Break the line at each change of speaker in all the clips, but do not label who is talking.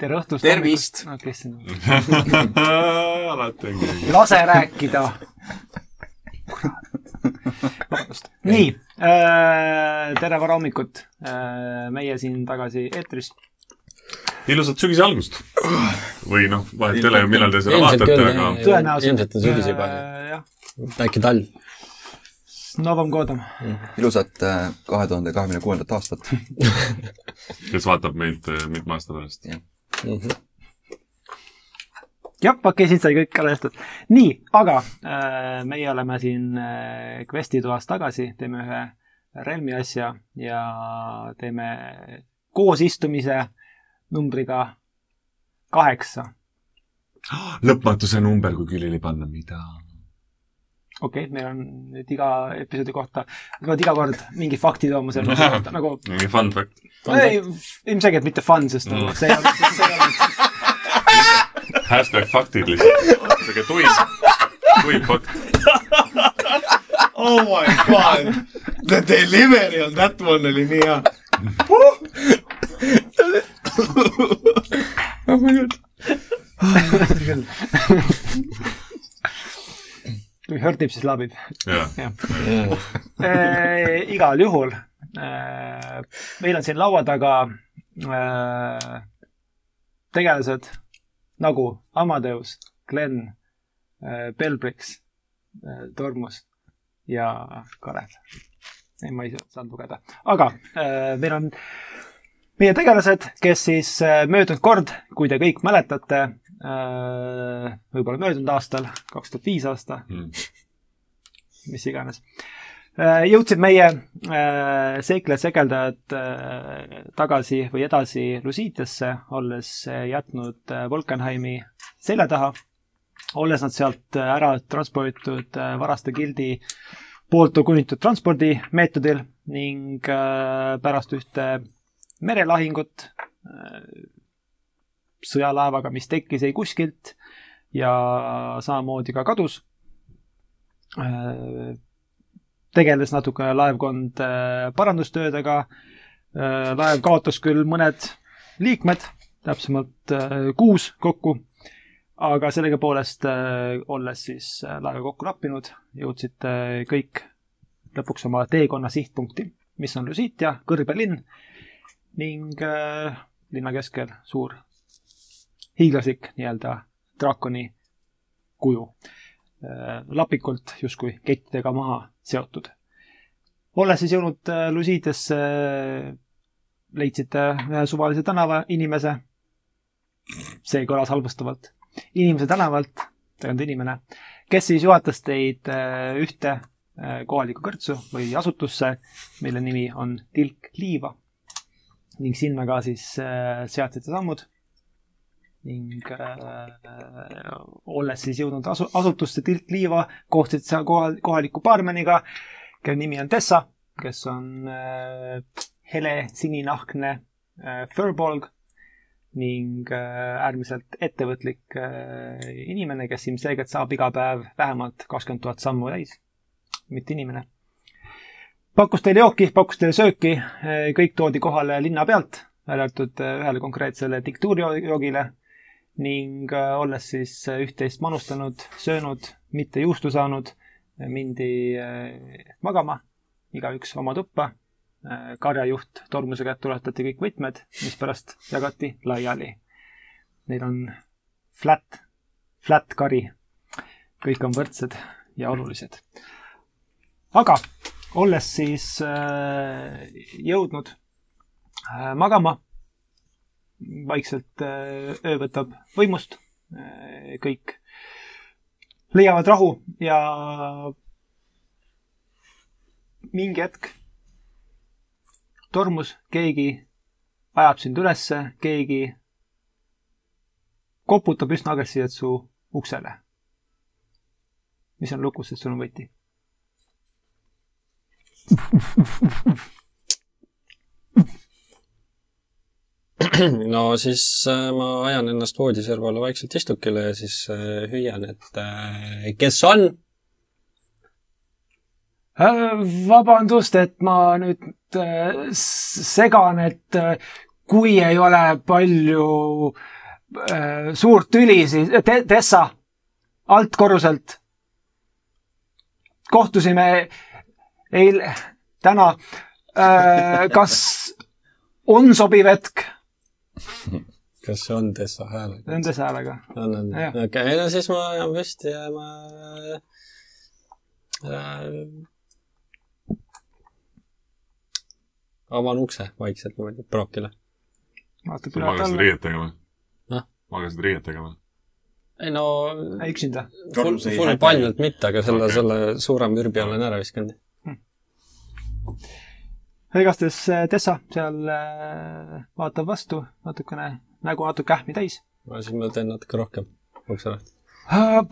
tere õhtust .
Tervist!
Kristina .
alati on keegi .
lase rääkida . vabandust . nii , tere varahommikut . meie siin tagasi eetris .
ilusat sügise algust . või noh , vahet ei ole ju , millal te seda
Ilmselt
vaatate ,
küll,
aga
jah.
tõenäoliselt .
Ilmselt on sügis juba.
jah ,
äkki talv .
Novom Godom .
ilusat kahe tuhande kahekümne kuuendat aastat .
kes vaatab meid eh, mitme aasta pärast .
jah , okei , siit sai kõik ära tehtud . nii , aga äh, meie oleme siin äh, Questi toas tagasi , teeme ühe relmi asja ja teeme koosistumise numbriga kaheksa .
lõpmatuse number , kui külili panna , mida ?
okei okay, , meil on nüüd iga episoodi kohta , peavad iga kord mingi fakti tooma selle kohta , nagu
mingi fun fact .
ei , ilmselgelt mitte fun , sest nagu see ei olnud , see ei olnud ,
hashtag faktid lihtsalt . sihuke tuim , tuim fakt .
oh my god , the delivery on that one oli nii hea .
kui hõrtib , siis labib .
jaa .
Eh, igal juhul eh, meil on siin laua taga eh, tegelased nagu Amadeus , Glen , Belbrix , äh, Tormus ja Kalev . ei , ma ei saanud lugeda , aga eh, meil on meie tegelased , kes siis eh, möödunud kord , kui te kõik mäletate , võib-olla möödunud aastal , kaks tuhat viis aasta ,
Hmm.
mis iganes . jõudsid meie äh, seiklesegeldajad äh, tagasi või edasi Lusiitiasse , olles äh, jätnud äh, Volkenheimi selja taha , olles nad sealt äh, ära transporditud äh, varaste gildi poolt kunitud transpordimeetodil ning äh, pärast ühte merelahingut äh, sõjalaevaga , mis tekkis ei kuskilt ja samamoodi ka kadus Äh, tegeles natuke laevkond äh, parandustöödega . laev kaotas küll mõned liikmed , täpsemalt äh, kuus kokku , aga sellegipoolest , olles siis äh, laeva kokku lappinud , jõudsid äh, kõik lõpuks oma teekonna sihtpunkti , mis on Lusitia , kõrbelinn ning äh, linna keskel suur hiiglaslik nii-öelda draakoni kuju äh, lapikult justkui kettidega maha seotud . olles siis jõudnud äh, Lusiidesse , leidsite ühe suvalise tänava inimese . see kõlas halvustavalt . inimese tänavalt , ta ei olnud inimene , kes siis juhatas teid äh, ühte äh, kohalikku kõrtsu või asutusse , mille nimi on Tilk Liiva . ning sinna ka siis äh, seadsite sammud ning äh, olles siis jõudnud asu, asutusse Tilt Liiva , kohtusid seal kohal , kohaliku baarmeniga , kelle nimi on Tessa , kes on äh, hele sininahkne äh, furbolg ning äh, äärmiselt ettevõtlik äh, inimene , kes ilmselgelt saab iga päev vähemalt kakskümmend tuhat sammu täis . mitte inimene . pakkus teile jooki , pakkus teile sööki , kõik toodi kohale linna pealt , välja arvatud äh, ühele konkreetsele diktuurijoogile ning äh, olles siis äh, üht-teist manustanud , söönud , mitte juustu saanud , mindi äh, magama , igaüks oma tuppa . karjajuht tormuse kätt ulatati kõik võtmed , mispärast jagati laiali . Neil on flat , flat kari . kõik on võrdsed ja olulised . aga olles siis äh, jõudnud äh, magama vaikselt äh, öö võtab võimust , kõik leiavad rahu ja mingi hetk tormus , keegi ajab sind ülesse , keegi koputab üsna agressiivselt su uksele . mis on lukus , sest sul on võti .
no siis äh, ma ajan ennast voodiservale vaikselt istukile ja siis äh, hüüan , et äh, kes on ?
vabandust , et ma nüüd äh, s- segan , et äh, kui ei ole palju äh, suurt tüli , siis äh, te, Tessa altkorruselt kohtusime eile , täna äh, . kas on sobiv hetk
kas see on Tessa hääl ?
nende häälega ?
on , on ,
Jah.
okei okay, , no siis ma jään püsti ja ma äh, avan ukse vaikselt niimoodi Brockile .
vaatab
sa
üle
magasid
talle .
riietega või
Noh. ?
magasid riietega või ?
ei no ,
üksinda .
full ,
Tormus ei
full
häda.
paljalt mitte , aga selle
Okei.
okay. , selle suurema ürbi olen ära viskanud .
igastahes äh, Tessa seal äh, vaatab vastu natukene , nägu natuke ähmi täis .
ma siis ma teen natuke rohkem ukse lahti .
Äh,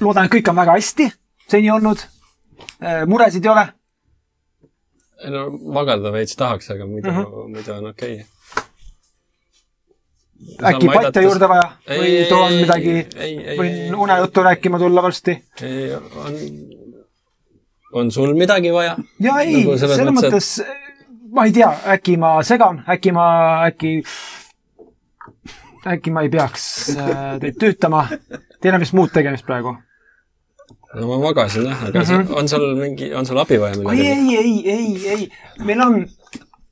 loodan , et kõik on väga hästi seni olnud . muresid ei ole .
ei no magada veits tahaks , aga muidu uh ,
Mhm.
-huh. muidu on okei okay. .
äkki patte juurde vaja või toon midagi , võin unejuttu rääkima tulla varsti .
ei , on , on sul midagi vaja ?
ja ei
Nagu , selles
selles mõttes äh,
mõttes,
ma ei tea , äkki ma segan , äkki ma , äkki , äkki ma ei peaks äh, teid tüütama . Teil on vist muud tegemist praegu ?
no ma magasin jah , aga mm -hmm. on sul mingi , on sul abi vaja
Mhm. ei ,
millegagi ?
ei , ei , ei , ei , meil on ,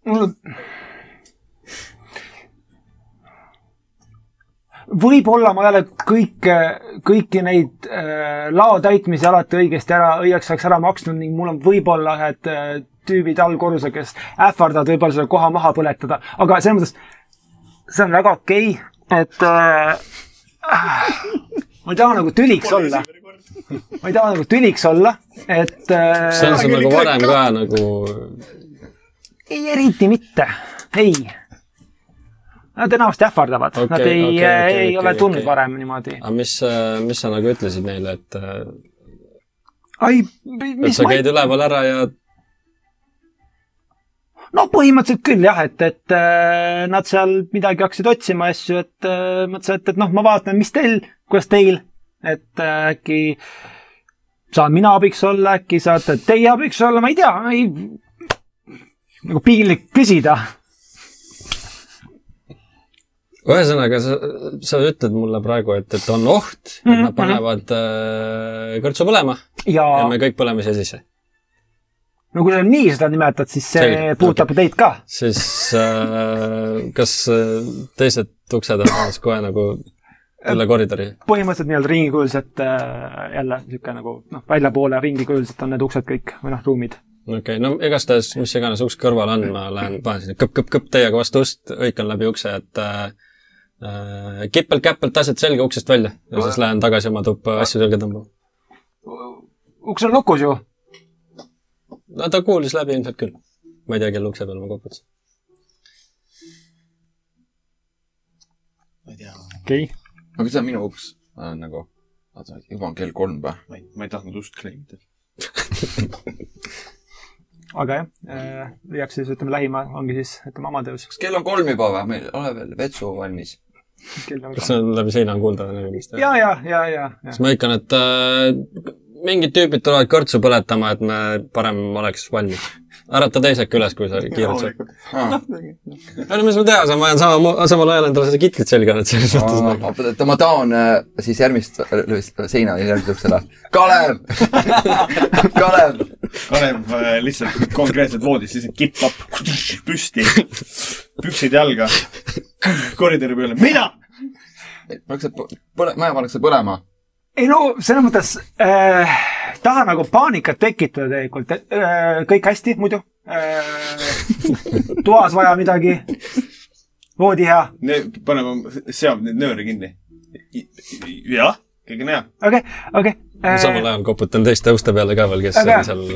mul on . võib-olla ma ei ole kõike , kõiki neid äh, lao täitmisi alati õigesti ära , õigeks ajaks ära maksnud ning mul on võib-olla ühed äh, tüübid allkorrusel , kes ähvardavad võib-olla selle koha maha põletada , aga selles mõttes , see on väga okei okay, , et äh, ma ei taha nagu tüliks olla , ma ei taha nagu tüliks olla , et äh,
see on sul nagu varem ka nagu ,
ei , eriti mitte , ei . Nad enamasti ähvardavad okay, , nad
Okei,
ei
okei,
okay, ,
okei,
okay, ei
okei,
okay, ole tulnud
okei. Ah.
okay. varem niimoodi .
aga mis , mis sa nagu ütlesid neile , et ,
ai ,
et
mis
sa
ma
käid
ei ,
üleval ära ja
no põhimõtteliselt küll jah , et , et äh, nad seal midagi hakkasid otsima asju , et äh, mõtlesin , et , et noh , ma vaatan , mis teil , kuidas teil , et äh, äkki saan mina abiks olla , äkki saate teie abiks olla , ma ei tea , ei , nagu piinlik küsida .
ühesõnaga , sa , sa ütled mulle praegu , et , et on oht , et
Mhm,
nad panevad äh, kõrtsu põlema
ja,
ja
ja
me
me...
kõik põleme siia sisse .
no kui sa nii seda nimetad , siis see
Selge,
puudutab okay. teid ka
siis äh, kas äh, teised uksed on alles kohe nagu üle koridori ?
põhimõtteliselt nii-öelda ringikujuliselt äh, jälle niisugune nagu noh , väljapoole ringikujuliselt on need uksed kõik või noh , ruumid .
okei okay, , no igastahes , mis iganes uks kõrval on , ma lähen panen sinna kõpp-kõpp-kõpp teiega vastu ust , hõikan läbi ukse , et äh, äh, kipelt-käpelt asjad selga uksest välja ja siis lähen tagasi oma tuppa asju selga tõmbama .
uks on lukus ju .
no ta kuulis läbi ilmselt küll . ma ei tea , kelle ukse peal ma koputasin .
ma ei tea ,
okei okay. .
aga see on minu uks . ma olen nagu , vaata , juba on kell kolm või ?
ma ei , ma ei tahtnud ust kleimida .
aga jah äh, , leiaks siis ütleme lähima ongi siis ütleme Amadeus .
kas kell on kolm juba või ? meil ei ole veel vetsu valmis .
kas see on läbi seina on kuulda nagu mis ta
nagu. ja , ja , ja , ja , ja
siis . ma hõikan , et äh, mingid tüübid tulevad kõrtsu põletama , et me parem oleks valmis . ärata teised ka üles , kui sa kiirelt saad .
Ah,
no mis ma teha saan , ma jään sama , samal ajal endale seda kitlit selga , et selles mõttes nagu .
ma taon äh, siis järgmist äh, seina ja järgmise uksele . Kalev , Kalev ,
Kalev äh, lihtsalt konkreetselt voodis lihtsalt kippab püsti , püksid jalga , koridori peale , mina
pannakse põ- , põle- , maja pannakse põlema .
ei no selles mõttes äh, taha nagu paanikat tekitada tegelikult , et äh, kõik hästi muidu äh, . toas vaja midagi , voodi hea
ne, paneme , seame neid nööre kinni . jah , kõik on hea .
okei okay, , okei äh, okay.
samal . ajal koputan teiste uste peale ka veel , kes
Aga-
on seal .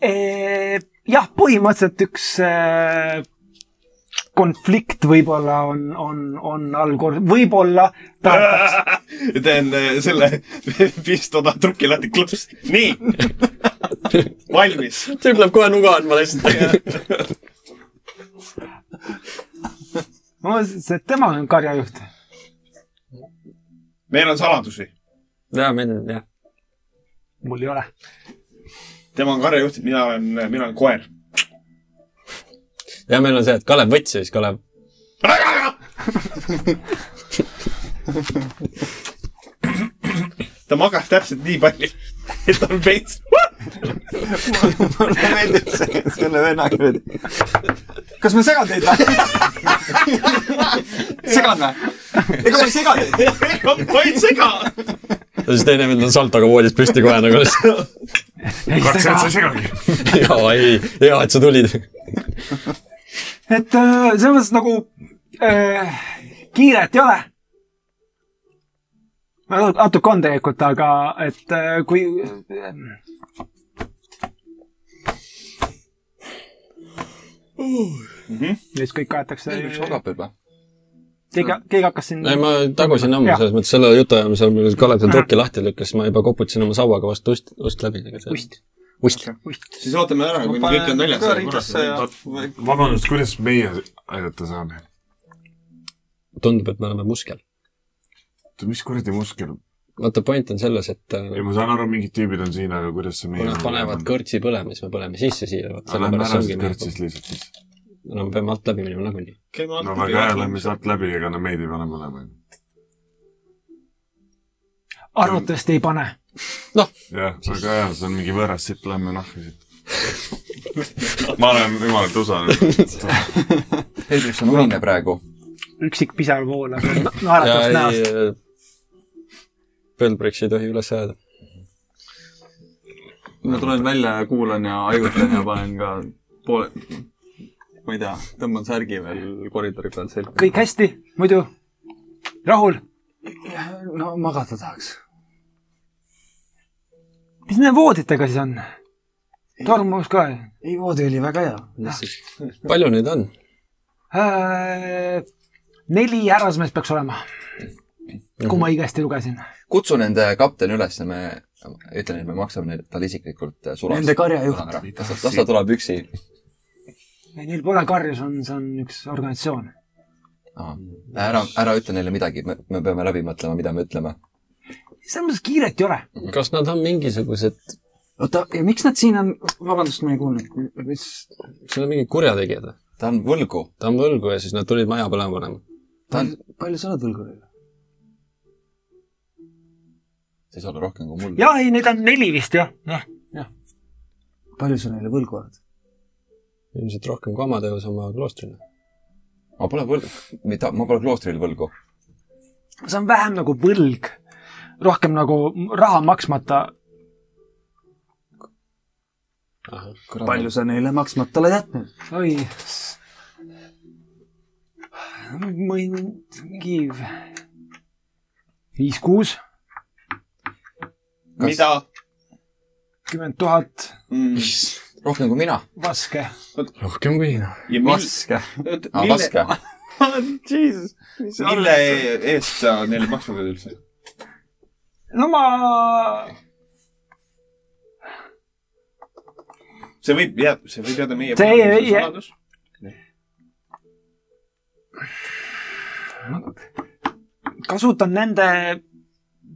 Eh, jah , põhimõtteliselt üks eh, konflikt võib-olla on , on , on allkord , võib-olla tahetakse ,
teen äh, selle pistoda truki lahti , klõps , nii . valmis .
tüüp läheb kohe nuga andma lihtsalt .
no see tema on karjajuht .
meil on saladusi .
jaa , meil on jah .
mul ei ole .
tema on karjajuht , mina olen , mina olen koer .
ja meil on see , et Kalev võtsi , siis Kalev .
ta magas täpselt nii palju , et tal veits .
mulle meeldib see , selle venna niimoodi . kas ma segan teid või ? segan või ? ega ma ei sega teid .
ega ma ei sega .
ja siis teine vend on saltoga voodis püsti kohe nagu lihtsalt .
ei
kartsin ,
sega
et sa ei . segagi .
jaa , ei , hea , et sa tulid .
et äh, selles mõttes nagu äh, kiiret ei ole . natuke on tegelikult , aga et äh, kui äh, nüüd Mm-hmm. kõik aetakse .
üks
keegi ,
magab juba .
keegi hakkas siin
ei , ma tagusin ammu
Jah.
selles mõttes selle jutuajamisel , milles Kalev seal trukki lahti lükkas , ma juba koputasin oma sauaga vastu ust , ust läbi .
ust ,
ust .
ust .
siis ootame ära ,
kuni kõik on väljas ja korras-
või
vabandust , kuidas meie aidata saame ?
tundub , et me oleme muskel .
mis kuradi muskel ?
vaata , point on selles , et äh,
ei , ma saan aru , mingid tüübid on siin , aga kuidas see
kui
meie
nad panevad kõrtsi põlema , siis me põleme sisse siia .
aga lähme ära siit kõrtsist lihtsalt siis .
no me nagu peame alt läbi minema nagunii .
käime
no väga hea , lähme sealt läbi , ega no meid ei pane mõlema .
arvatavasti ei pane .
Noh,
jah , väga hea , see on mingi võõras sipp , lähme nahku siit . ma olen jumalalt usanud .
Hendriks on unine praegu .
üksik pisar voolab
Noh, ja
naeratavast
ei
näost .,
pöldbriks ei tohi üles ajada .
ma tulen välja ja kuulan ja haigutan ja panen ka poole , ma ei tea , tõmban särgi veel koridori peal selga .
kõik hästi , muidu rahul .
no magada tahaks .
mis nende vooditega siis on ? tormus ka
ei , voodi oli väga hea .
palju neid on ?
äh, . neli härrasmeest peaks olema , kui ma õigesti lugesin .
kutsu nende kapteni üles ja me , ütlen , et me maksame neile- talle isiklikult äh, sulast .
Nende karjajuht.
las ta- las ta tuleb üksi .
Neil pole karju , see on , see on üks organisatsioon .
ära , ära ütle neile midagi , me , me peame läbi mõtlema , mida me ütleme .
selles mõttes kiiret ei ole .
kas nad on mingisugused ,
oota , ja miks nad siin on , vabandust , ma ei kuulnud , mis
kas nad on mingid kurjategijad või ?
ta on võlgu .
ta on võlgu ja siis nad tulid maja põlema panema .
Tal- ,
palju sa oled võlguril ?
see ei saa olla rohkem kui mul .
jah , ei , neid on neli vist jah , jah , jah .
palju sa neile võlgu oled ?
ilmselt rohkem kui Amadeus oma kloostrile .
ma pole võlgu , mida , ma pole kloostril võlgu .
see on vähem nagu võlg , rohkem nagu raha maksmata .
palju sa neile maksmata oled jätnud ?
oi . ma ei , mingi viis-kuus ,
mida ? Mm.
kümmend tuhat
rohkem kui mina .
vaske .
rohkem kui noh, Hiina .
ja mis ,
vaske .
aa ,
mille ,
vaske .
Jesus , mis sa
mille eest sa neile maksma pead üldse ?
no ma
see võib jääda , see võib jääda meie
See ei- ei- ei-
saladus .
kasutan nende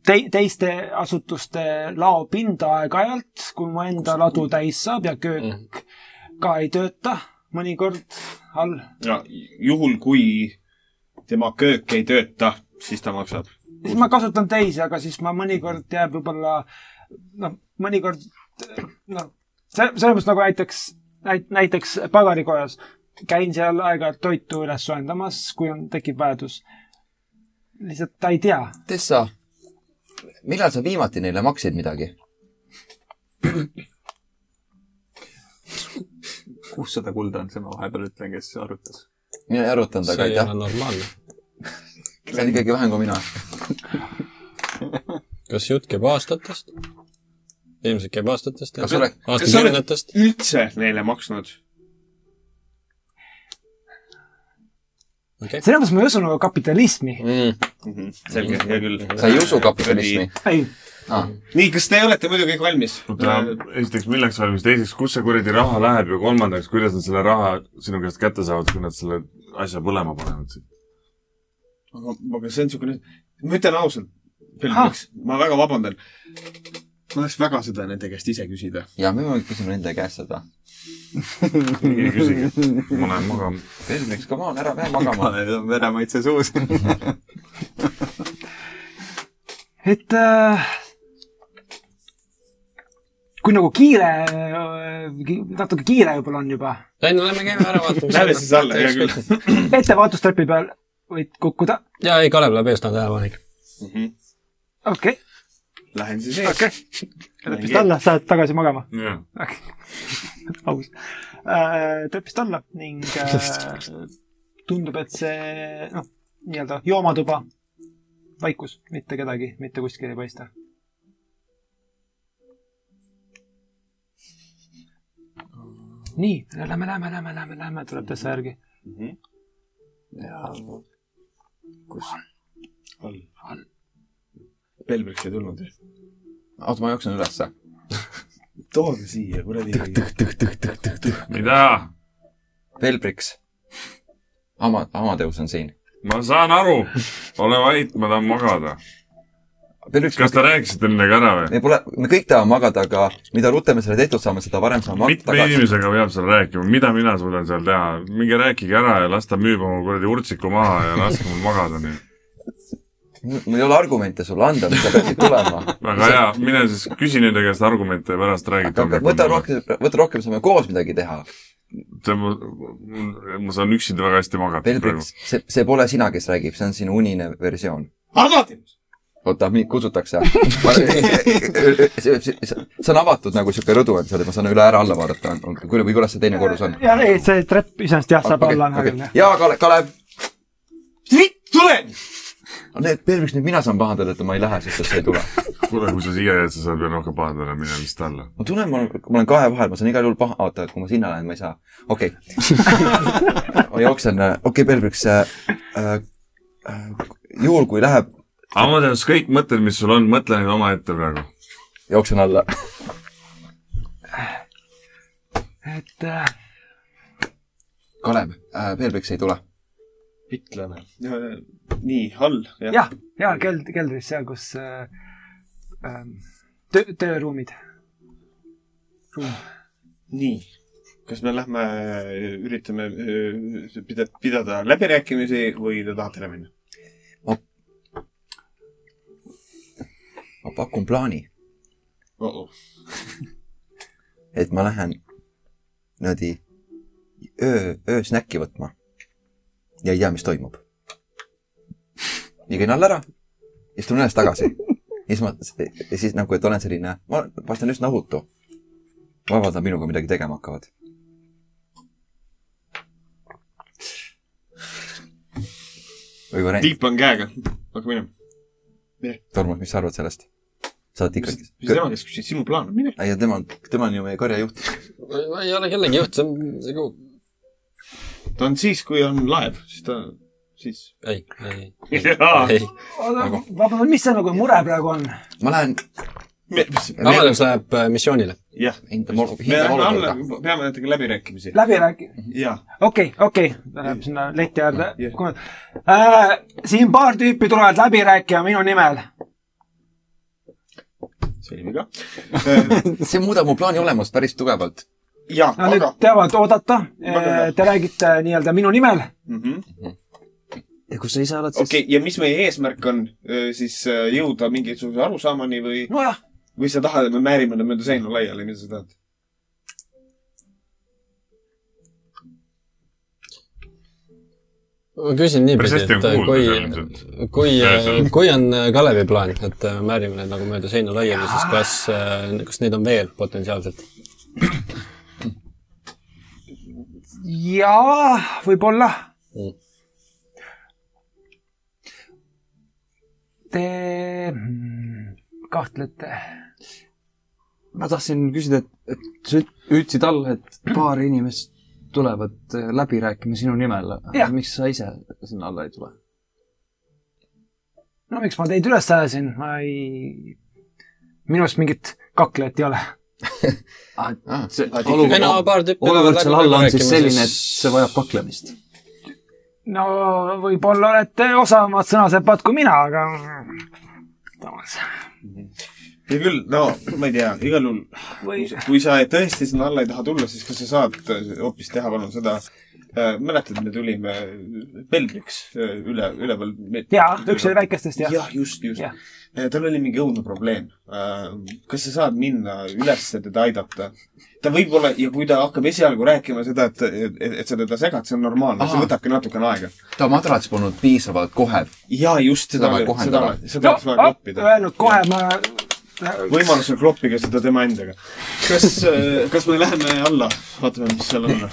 te teiste asutuste laopinda aeg-ajalt , kui mu enda ladu täis saab ja köök ka ei tööta mõnikord all .
ja juhul , kui tema köök ei tööta , siis ta maksab .
siis ma kasutan teisi , aga siis ma mõnikord jääb võib-olla noh , mõnikord noh , see , selles mõttes nagu näiteks , näiteks pagarikojas käin seal aeg-ajalt toitu üles soojendamas , kui on , tekib vajadus . lihtsalt ta ei tea .
Tessa , millal sa viimati neile maksid midagi ?
kuussada kulda on see , ma vahepeal ütlen , kes arutas .
mina ei arutanud ,
see
aga
ei
aitäh
ole . normaalne .
see on ikkagi vähem kui mina .
kas jutt käib aastatest ? ilmselt käib aastatest .
Kas sa oled-
aastakümnetest .
üldse neile maksnud .
okei .
selles mõttes ma ei usu nagu kapitalismi .
Mhm. selge , hea küll .
sa ei usu kapitalismi ?
ei ,
aa ,
nii , kas te olete muidu kõik valmis ? Äh,
oota , esiteks milleks valmis , teiseks , kus see kuradi raha läheb ja kolmandaks , kuidas nad selle raha sinu käest kätte saavad , kui nad selle asja põlema panevad siit ?
aga , aga see on niisugune , ma ütlen ausalt ,
Ahah.
Pelviks , ma väga vabandan . ma tahaks väga seda nende käest ise küsida .
ja me võime küsida nende käest seda .
minge küsige , ma lähen magama .
Felix , come on , ära mine magama .
paned on veremaitse suus .
et äh, kui nagu kiire äh, , natuke kiire võib-olla on juba ,
läinud , lähme käime ära , vaatame .
Lähme siis alla, hea küll. .
ettevaatustreppi peal võid kukkuda ,
jaa , ei , Kalev läheb eest , ta on tähelepanelik .
okei okay. ,
Lähen siis ees okay. .
trepist alla , saad tagasi magama ,
jah ,
aus äh, . trepist alla ning äh, tundub , et see noh , nii-öelda joomatuba , vaikus , mitte kedagi , mitte kuskil ei paista . nii , lähme , lähme , lähme , lähme , lähme , tuleb täitsa järgi .
Pelbriks ei tulnud .
oota , ma jooksen ülesse .
toome siia , kuradi .
mida ?
Velbriks . Ama- , Amadeus on siin .
ma saan aru , ole vait , ma tahan magada .
Velbriks ,
kas te rääkisite nendega ära või ?
me pole , me kõik tahame magada , aga mida rutem me selle tehtud saame , seda varem saame magada
mitme
tagasi .
inimesega peab seal rääkima , mida mina suudan seal teha , minge rääkige ära ja las ta müüb oma kuradi urtsiku maha ja laske mul magada nüüd .
mul ei ole argumente sulle anda , sa peaksid tulema .
väga hea , mine siis küsi nende käest argumente ja pärast räägid
võta . rohkem , võta rohkem , saame koos midagi teha .
ma saan üksinda väga hästi magada praegu
Velbriks ., see , see pole sina , kes räägib , see on sinu unine versioon .
Amadeus .
oota , mind kutsutakse . see on avatud nagu sihuke rõdu on seal , et ma saan üle ära-alla vaadata , või kuidas see teine korrus on ?
ja ei , see trepp iseenesest jah , saab alla näha küll , jah .
jaa , Kalev , Kalev .
tule .
Need , Pelbriks , nüüd mina saan pahandada , et ma ei lähe , sest et sa ei tule .
kuule , kui sa siia jääd , sa saad veel rohkem pahandada , mine vist alla .
ma tunnen , ma olen , ma olen kahe vahel , ma saan igal juhul paha , oota , kui ma sinna lähen , ma ei saa . okei okay. . ma jooksen , okei okay, , Pelbriks äh, . Äh, juhul , kui läheb ,
Amadeus , kõik mõtted , mis sul on , mõtle neid omaette praegu .
jooksen alla .
et äh,
Kalev äh, , Pelbriks ei tule .
ütleme . Äh, nii , all , jah .
jah , ja keld- , keldris seal , kus äh, ähm, töö , tööruumid .
nii . kas me lähme , üritame öö, pida- , pidada läbirääkimisi või te tahate ära minna ?
ma pakun plaani , et ma lähen niimoodi öö , öösnäkki võtma . ja ei tea , mis toimub . ja käin alla ära , istun üles tagasi . ja siis ma , ja siis nagu , et olen selline , ma vastan üsna ohutu . vaevalt nad minuga midagi tegema hakkavad . või variant ,
tiip on käega . hakka minema .
Tormas , mis sa arvad sellest ? sa oled
mis
ikkagi ,
mis tema käest küsis , sinu plaan on , mine .
ei ja tema , tema on ju meie karjajuht .
ma ei ole kellegi juht , see on nagu ,
ta on siis , kui on laev , siis ta , siis .
ei , ei ,
jaa .
ei .
vabandust , mis see nagu mure praegu on ?
ma lähen
Amadeus läheb äh, missioonile .
jah .
hindama ,
me
hindama
lähme alla
olukorda .,
peame nendega läbirääkimisi .
läbi räägi- ,
jaa .
okei okay, , okei okay. , ta läheb sinna leti äärde
Jah.
yeah. . siin paar tüüpi tulevad läbi rääkima minu nimel .
sõlmime ka .
see muudab mu plaani olemust päris tugevalt .
jaa ,
Nad nüüd
aga .
teavad oodata Äh,
Väga hea. .
Te räägite nii-öelda minu nimel .
Mhm.
ja kus sa ise oled siis ?
okei , ja mis meie eesmärk on , siis öö, jõuda mingisuguse arusaamani või ,
nojah ,
või sa tahad , et me määrime ta mööda seina laiali , mida sa tahad ?
ma küsin
päris
niipidi ,
hästi on
et äh,
kuulda seal
kui ,
ilmselt .
kui
Tõeselt. ,
kui on äh, Kalevi plaan , et äh, määrime need nagu mööda seina laiali , siis kas , kas neid on veel potentsiaalselt ?
jaa , võib-olla
Mm. .
Te mm, kahtlete
ma tahtsin küsida , et , et sa üt- ütlesid all , et paar inimest tulevad äh, läbi rääkima sinu nimel
Jah. .
miks sa ise sinna alla ei tule ?
no miks ma teid üles ajasin , ma ei , minu arust mingit kaklejat ei ole .
Ah,
Ah,
see
ei no
olukord ,
paar tüüpi
olukord seal all on siis
rääkima,
selline , et
siis-
see vajab kaklemist .
no võib-olla olete osavamad sõnasepad kui mina , aga taas .
ei küll , no ma ei tea , igal juhul ,
või
kui sa tõesti sinna alla ei taha tulla , siis kas sa saad äh, hoopis teha palun seda äh, mäletad , me tulime Belgiaks äh, üle , üleval .
jaa , üks oli väikestest jah ja. .
jah , just , just
Jah.
yeah. . tal oli mingi õudne probleem . kas sa saad minna üles teda aidata ? ta võib-olla , ja kui ta hakkab esialgu rääkima seda , et, et , et sa teda segad , see on normaalne , see
Aa.
võtabki natukene aega .
ta madrats polnud piisavalt kohe .
jaa , just seda
Seda , vaja
seda
kohendada. ,
no oh,
seda oleks vaja , kloppida .
öelnud kohe , ma ,
võimalusel kloppige seda tema endaga . kas , kas me läheme alla , vaatame , mis seal on ?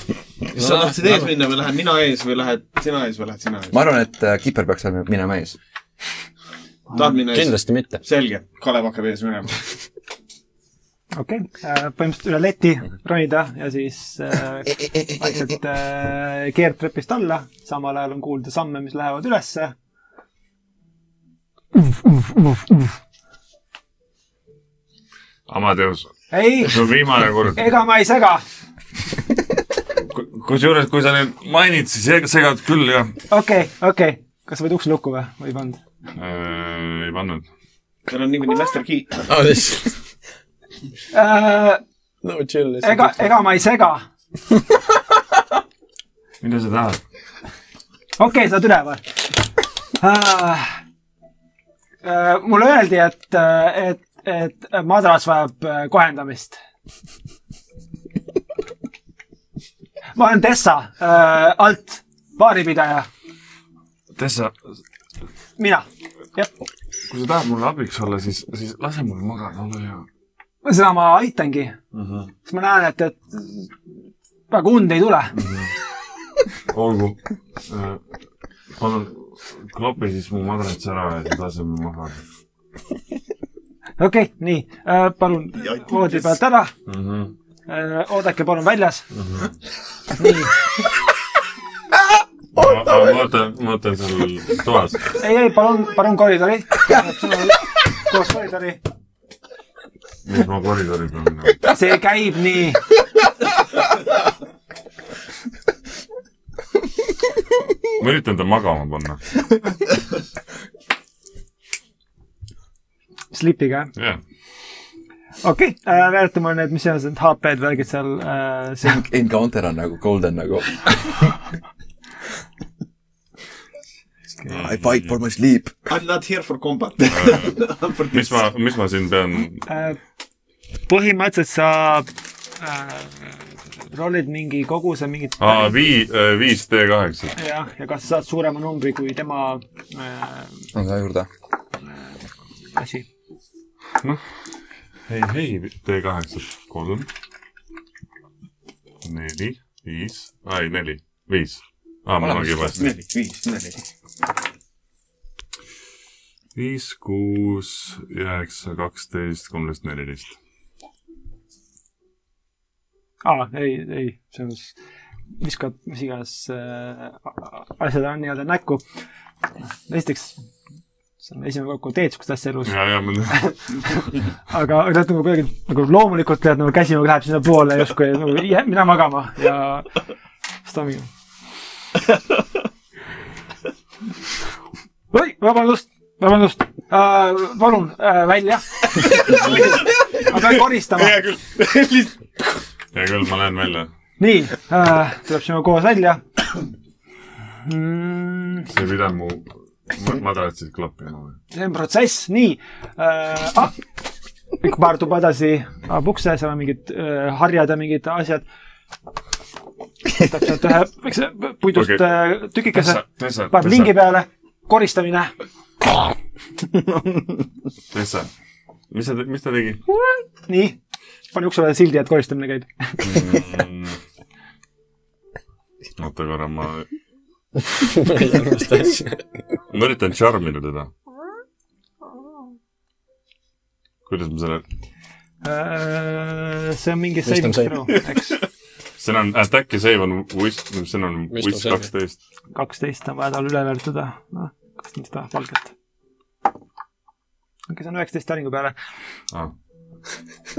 kas sa tahtsid ees minna või lähen mina ees või lähed sina ees või lähed sina ees ?
ma arvan , et äh, kiper peaks seal minema ees .
tahad minna ees ?
kindlasti mitte .
selge , Kalev hakkab ees minema .
okei okay. , põhimõtteliselt üle leti ronida ja siis äh, vaikselt äh, keerdtrepist alla , samal ajal on kuulda samme , mis lähevad ülesse .
Amadeus ,
ei ,
see on viimane kord .
ega ma ei sega ,
kusjuures , kui sa nüüd mainid , siis seg- segad küll , jah .
okei okay, , okei okay. kas sa võid ukse lukku või , või ei pannud ?
Äh, ei pannud .
tal on niikuinii master key .
aa , siis , Ah, no chill
Äh, ega
lihtsalt .,
ega ma ei sega .
mida sa tahad ?
okei okay, , saad üle või uh, ? Uh, mulle öeldi , et , et , et madras vajab äh, kohendamist . ma olen Tessa uh, , alt , baaripidaja ,
Tessa ,
mina . jah ,
kui sa tahad mulle abiks olla , siis , siis lase mul magada , ole hea .
seda ma aitangi uh . -huh. siis ma näen , et , et väga und ei tule .
olgu . Äh, palun klopi siis mu madrats ära ja siis lase mul magada
okei okay, , nii uh, , palun voodi pealt ära
mm . -hmm.
uh, . oodake palun väljas uh . -huh. nii
ma ma ootan , ma ootan seal toas .
ei , ei , palun , palun koridori . koos koridori .
miks ma koridori peal minema ?
see käib nii .
ma üritan ta magama panna .
Slipiga , jah ?
jah .
okei äh, okay, , veeretame need , mis iganes need HP-d , värgid seal äh, , see
Encounter on nagu golden nagu . I fight for my sleep .
I m not here for combat .
mis ma , mis ma siin pean ?
äh, . põhimõtteliselt sa äh, rollid mingi koguse mingit
aa , vii- , viis D kaheksa .
jah , ja kas saad suurema numbri kui tema äh,
on ka juurde .
asi .
ei , ei , tee kaheksat , kolm , neli , viis , ei neli , viis . aa , mul ongi juba hästi .
neli , viis , neli .
viis , kuus , üheksa , kaksteist , kolmteist , neliteist .
aa , ei , ei , selles mõttes viskad mis iganes äh, a- a- asjad on nii-öelda näkku . esiteks , see on esimene kord , kui teed sihukest asja elus .
ja , ja ma tean .
aga aga tead nagu kuidagi nagu loomulikult tead nagu käsi nagu läheb sinnapoole justkui nagu jää- mine magama ja siis ta mingi . oi , vabandust , vabandust äh, , palun äh, välja . ma pean koristama .
hea küll , ma lähen välja .
nii äh, , tuleb sinuga koos välja mm, .
sa ei pidanud mu ma- madratsit klappima või ?
see on protsess , nii äh, . Ah, ikka paar tuba edasi avab ukse , seal on mingid äh, harjad ja mingid asjad . võtab sealt ühe väikse puidust
Okei.
okay. äh, tükikese ,
Tessa , Tessa ,
paneb lingi
Tessa ,
peale , koristamine .
Tessa . mis sa , mis ta tegi ?
nii , pane ukse peale sildi , et koristamine käib .
oota korra , ma ,
ma ei arvesta asja .
ma üritan charmida teda . kuidas ma selle ,
Äh, see on mingi
Wisdom
saving
save.
throw , eks .
siin on attack ja save on wis- , siin on
Mis
wis
ta
kaksteist .
kaksteist on vaja tal üle veeretada , noh , kaksteist on valgelt . okei , see on üheksateist taringu peale .
ah. .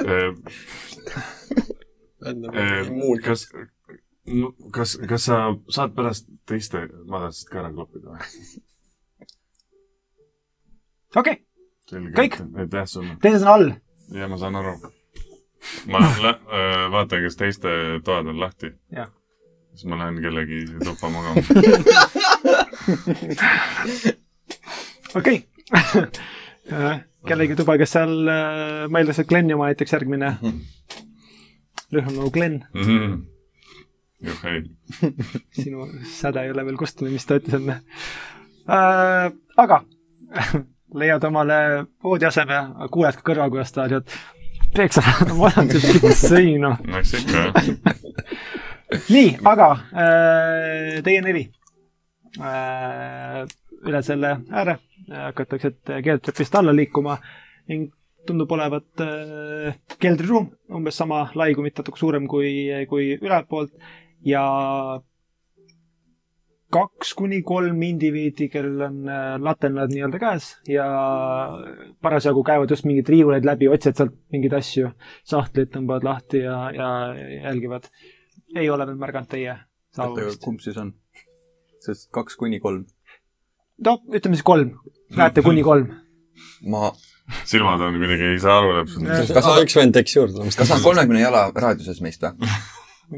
Eh, kas , kas , kas sa saad pärast teiste madalast ka ära kloppida või ?
okei okay. ,
selge
Kõik? ,
aitäh sulle .
teised on all .
ja ma saan aru . ma lä- , öö, vaatan , kas teiste toad on lahti .
Jah.
siis ma lähen kellegi tuppa magama .
okei okay. . kellegi tuba , kes seal äh, mõeldes , et Glen oma näiteks järgmine . lühem nagu Glen ,
Mhm. juh , ei .
sinu säde ei ole veel kustunud , mis ta ütles enne äh, . aga leiad omale voodiaseme , kuuled ka kõrval , kuidas ta ütleb , peeksa vaata , ma olen noh. tüüpi sõinu .
no eks ikka , jah .
nii , aga äh, teie neli äh, üle selle ääre äh, hakatakse et keldritrepist alla liikuma ning tundub olevat äh, keldriruum umbes sama lai kui mitte natuke suurem kui , kui ülalpoolt ja kaks kuni kolm indiviidi , kellel on äh, laternad nii-öelda käes ja parasjagu käivad just mingeid riiuleid läbi , otsivad sealt mingeid asju , sahtleid tõmbavad lahti ja , ja jälgivad . ei ole veel märganud teie
oota ,
saabumist .
kumb siis on ? sest kaks kuni kolm .
no ütleme siis kolm , näete
Mm.
kuni kolm .
ma ,
silmad on kuidagi , ei saa aru täpselt .
kas
aa ,
on ,
üks vend tekkis juurde .
kas on kolmekümne jala raadiuses meist või ?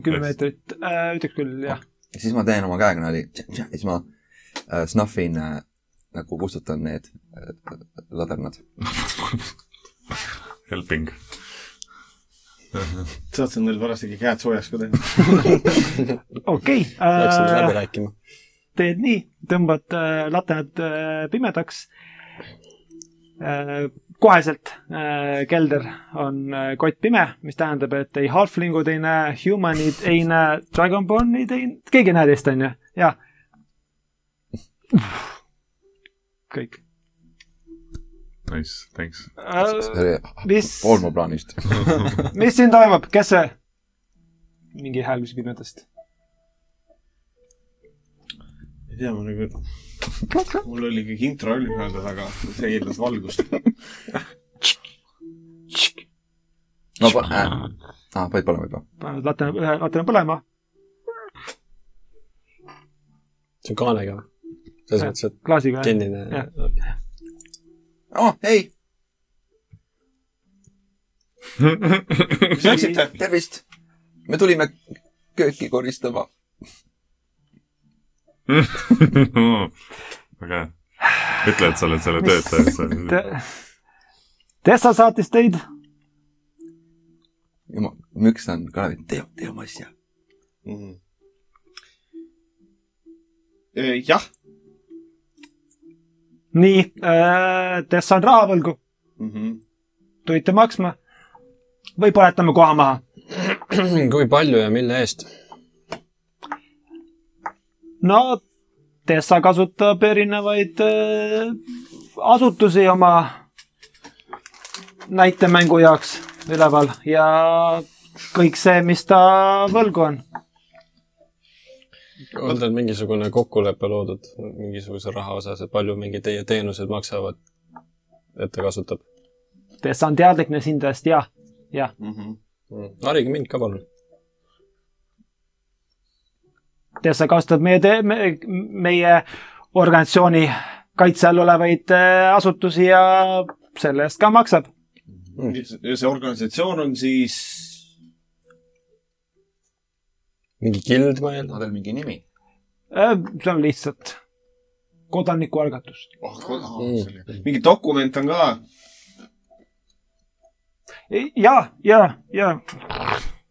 kümme meetrit äh, , ütleks küll jah .
ja siis ma teen oma käega niimoodi tš-tš- ja siis ma äh, snuffin äh, nagu kustutan need äh, ladernad .
Helping .
saad sa neil pärast ikka käed soojaks ka teha .
okei
Läksin
äh,
läbi , rääkima .
teed nii , tõmbad äh, laternad äh, pimedaks äh, . koheselt äh, kelder on äh, kottpime , mis tähendab , et ei halflingud ei näe , humanid ei näe , dragonbornid ei , keegi ei näe teist , onju , jah . kõik
Nice , thanks .
äh, .
see oli
mis ,
pool mu plaanist .
mis siin toimub , kes see ? mingi hääl küsib pimedast .
ei tea , ma nagu , mul oli ikkagi introll nii-öelda taga , see eeldas valgust .
no pa- , äh, Ah, aa , panid panema juba .
panevad latern , ühe laterna põlema ,
see on kaanega või ? selles mõttes , et
klaasiga . Äh.
kinnine .
aa , ei ,
mis läksite ?
tervist . me tulime kööki koristama .
väga hea . ütle , et sa oled selle töötaja , sa oled
Te- Tessa saatis teid
jumal , müks on Kalevil , tee , tee oma asja .
Mhm. Äh, jah .
nii äh, , Tessa on raha võlgu ,
Mhm.
tulite maksma või põletame koha maha .
kui palju ja mille eest ?
no Tessa kasutab erinevaid äh, asutusi oma näitemängu jaoks üleval ja kõik see , mis ta võlgu on .
on teil mingisugune kokkulepe loodud mingisuguse raha osas , et palju mingi teie teenused maksavad , et ta kasutab ?
Tessa on teadlikne sindest ja , ja
Mhm.
harige mind ka palun .
Tessa kasutab meie te- , me, meie organisatsiooni kaitse all olevaid äh, asutusi ja selle eest ka maksab .
ja see organisatsioon on siis
mingi kild , ma eeldan .
on tal mingi nimi ?
Äh, see on lihtsalt kodanikualgatus .
oh, , mingi dokument on ka .
ja , ja , ja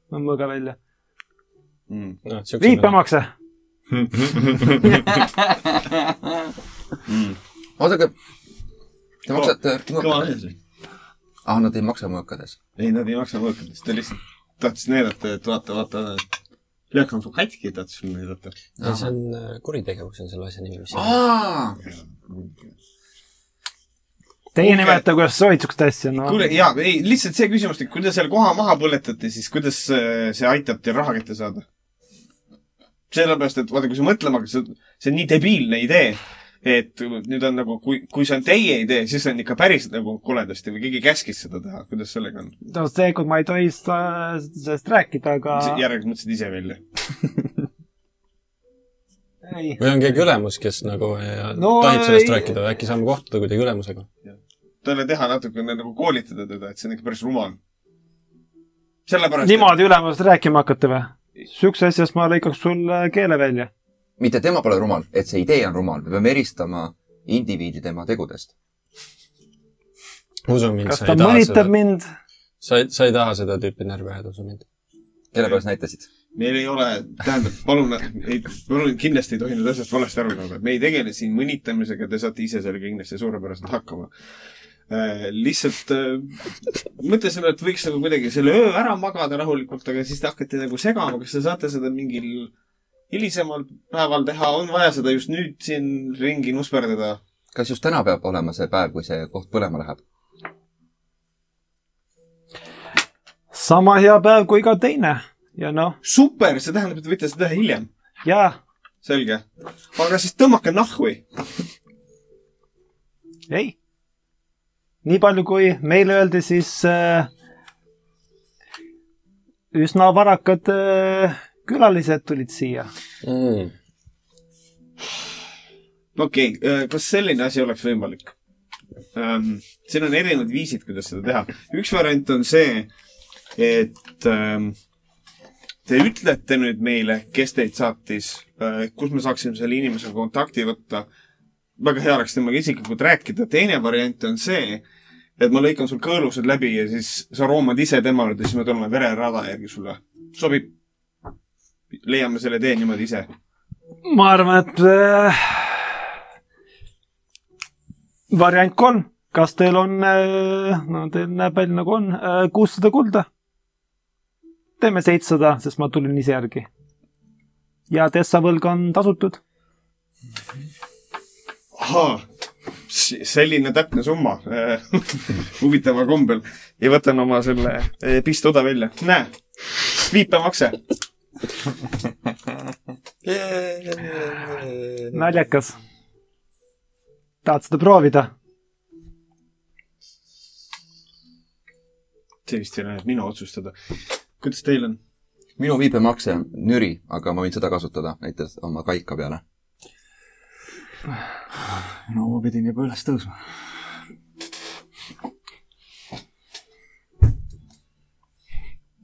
on mõõga välja .
noh , siukse .
viipemakse ,
oodage , te
Kõva-
maksate
kõva
mõõkades ?
mees .
ah , nad ei maksa mõõkades .
ei , nad ei maksa mõõkadest , ta lihtsalt tahtis näidata , et vaata , vaata , löök on su katki , tahtis sulle näidata .
see on äh, kuritegevus on selle asja nimi , mis .
aa ,
teie
Kuulge.
nimeta , kuidas soovite siukest asja , no .
kuule , jaa , ei , lihtsalt see küsimus , et kui te seal koha maha põletate , siis kuidas äh, see aitab teil raha kätte saada ? sellepärast , et vaata , kui sa mõtlema hakkad , see on nii debiilne idee , et nüüd on nagu , kui , kui see on teie idee , siis on ikka päris nagu koledasti või keegi käskis seda teha , kuidas sellega on ?
no seekord ma ei tohi sa- sellest rääkida , aga
järelikult mõtlesid ise välja .
ei ,
või on keegi nagu, ülemus , kes nagu no,
No
tohib
ei-
sellest äh, ei... rääkida või äkki saame kohtuda kuidagi ülemusega ?
talle teha natukene nagu koolitada teda , et see on ikka päris rumal . sellepärast , et
niimoodi ülemusest rääkima hakata või ? Siukse asja eest ma lõikaks sulle keele välja .
mitte tema pole rumal , et see idee on rumal , me peame eristama indiviidi tema tegudest .
usu mind ,
kas
sa
ta
ei taha seda
mõnitab , mind ?
sa ei , sa ei taha seda tüüpi närvi ajada , usu mind .
kelle pärast näitasid ?
meil ei ole , tähendab , palun , ei , palun kindlasti ei tohi nüüd asjast valesti aru saada , me ei tegele siin mõnitamisega , te saate ise sellega kindlasti suurepäraselt hakkama . lihtsalt äh, mõtlesime , et võiks nagu kuidagi selle öö ära magada rahulikult , aga siis te hakkate nagu segama , kas te saate seda mingil hilisemal päeval teha , on vaja seda just nüüd siin ringi nusperdada ?
kas just täna peab olema see päev , kui see koht põlema läheb ?
sama hea päev kui iga teine ja noh ,
super , see tähendab , et te võite seda teha hiljem .
jaa ,
selge . aga siis tõmmake nahhui .
ei . nii palju , kui meile öeldi , siis äh, üsna varakad äh, külalised tulid siia .
mm. .
okei okay, , kas selline asi oleks võimalik ähm, ? siin on erinevad viisid , kuidas seda teha . üks variant on see , et ähm, te ütlete nüüd meile , kes teid saatis äh, , kus me saaksime selle inimesega kontakti võtta . väga hea oleks temaga isiklikult rääkida . teine variant on see , et ma lõikan sul kõõlused läbi ja siis sa roomad ise tema juurde , siis me tuleme vererada järgi sulle . sobib ? leiame selle tee niimoodi ise .
ma arvan , et äh, variant kolm , kas teil on äh, , no teil näeb välja nagu on , kuussada kulda . teeme seitsesada , sest ma tulin ise järgi . ja Tessa võlg on tasutud .
ahaa , selline täpne summa huvitaval kombel ja võtan oma selle eh, pistoda välja , näe , viipemakse .
naljakas . tahad seda proovida ?
see vist ei ole nüüd minu otsustada . kuidas teil on ?
minu viibemakse on nüri , aga ma võin seda kasutada näiteks oma kaika peale .
no ma pidin juba üles tõusma .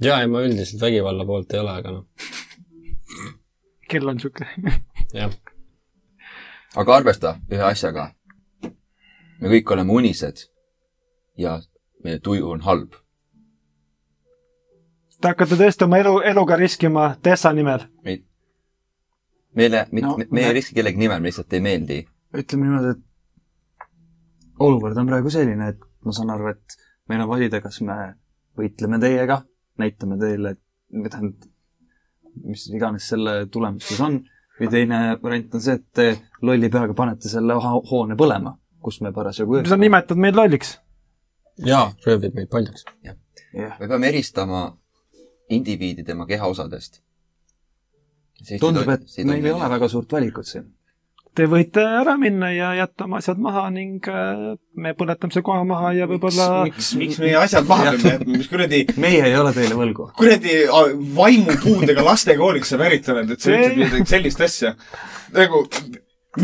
ja , ei ma üldiselt vägivalla poolt ei ole , aga noh ,
kell on sihuke .
jah .
aga arvesta ühe asjaga . me kõik oleme unised ja meie tuju on halb .
Te hakkate tõesti oma elu , eluga riskima Tessa nimel .
meile , mitte
No, ,
me ei
me-
riski kellegi nimel , me lihtsalt ei meeldi .
ütleme niimoodi , et olukord on praegu selline , et ma saan aru , et meil on valida , kas me võitleme teiega , näitame teile , või tähendab , mis iganes selle tulemus siis on , või teine variant on see , et te lolli peaga panete selle ho- hoone põlema , kus me parasjagu
sa nimetad meid lolliks .
jaa , röövib meid paljaks .
jah ,
me peame eristama indiviidi tema kehaosadest .
tundub , et meil ei ole väga suurt valikut siin .
Te võite ära minna ja jätta oma asjad maha ning äh, me põletame see koha maha ja võib-olla
miks ,
miks meie asjad maha peame jätma , mis kuradi ,
meie ei ole teile võlgu .
kuradi a- vaimupuudega lastekooliks sa pärit oled , et sa
See-
ütled midagi sellist asja . nagu ,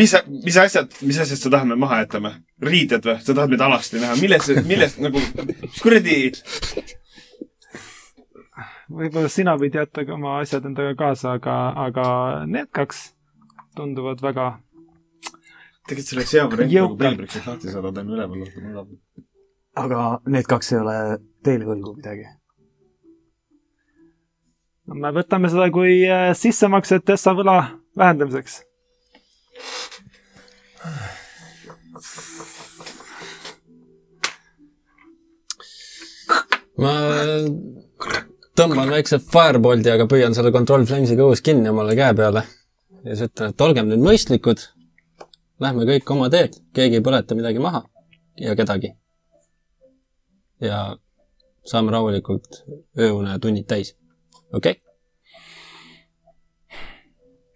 mis , mis asjad , mis asjad sa tahad , me maha jätame ? riided või ? sa tahad meid alasti näha ? milles , milles nagu , mis kuradi
võib-olla sina võid jätta ka oma asjad endaga kaasa , aga , aga need kaks tunduvad väga .
tegelikult see oleks hea variant nagu
Jõukalt.
pelbriks , et lahti saada , peame üleval olema mugav .
aga need kaks ei ole teile võlgu midagi .
me võtame seda kui äh, sissemakset Tessa võla vähendamiseks .
ma tõmban väikse firebolti , aga püüan selle control flames'iga õhus kinni omale käe peale . ja siis ütlen , et olgem nüüd mõistlikud . Lähme kõik oma teed , keegi ei põleta midagi maha ja kedagi . ja saame rahulikult ööunetunnid täis . okei okay? ?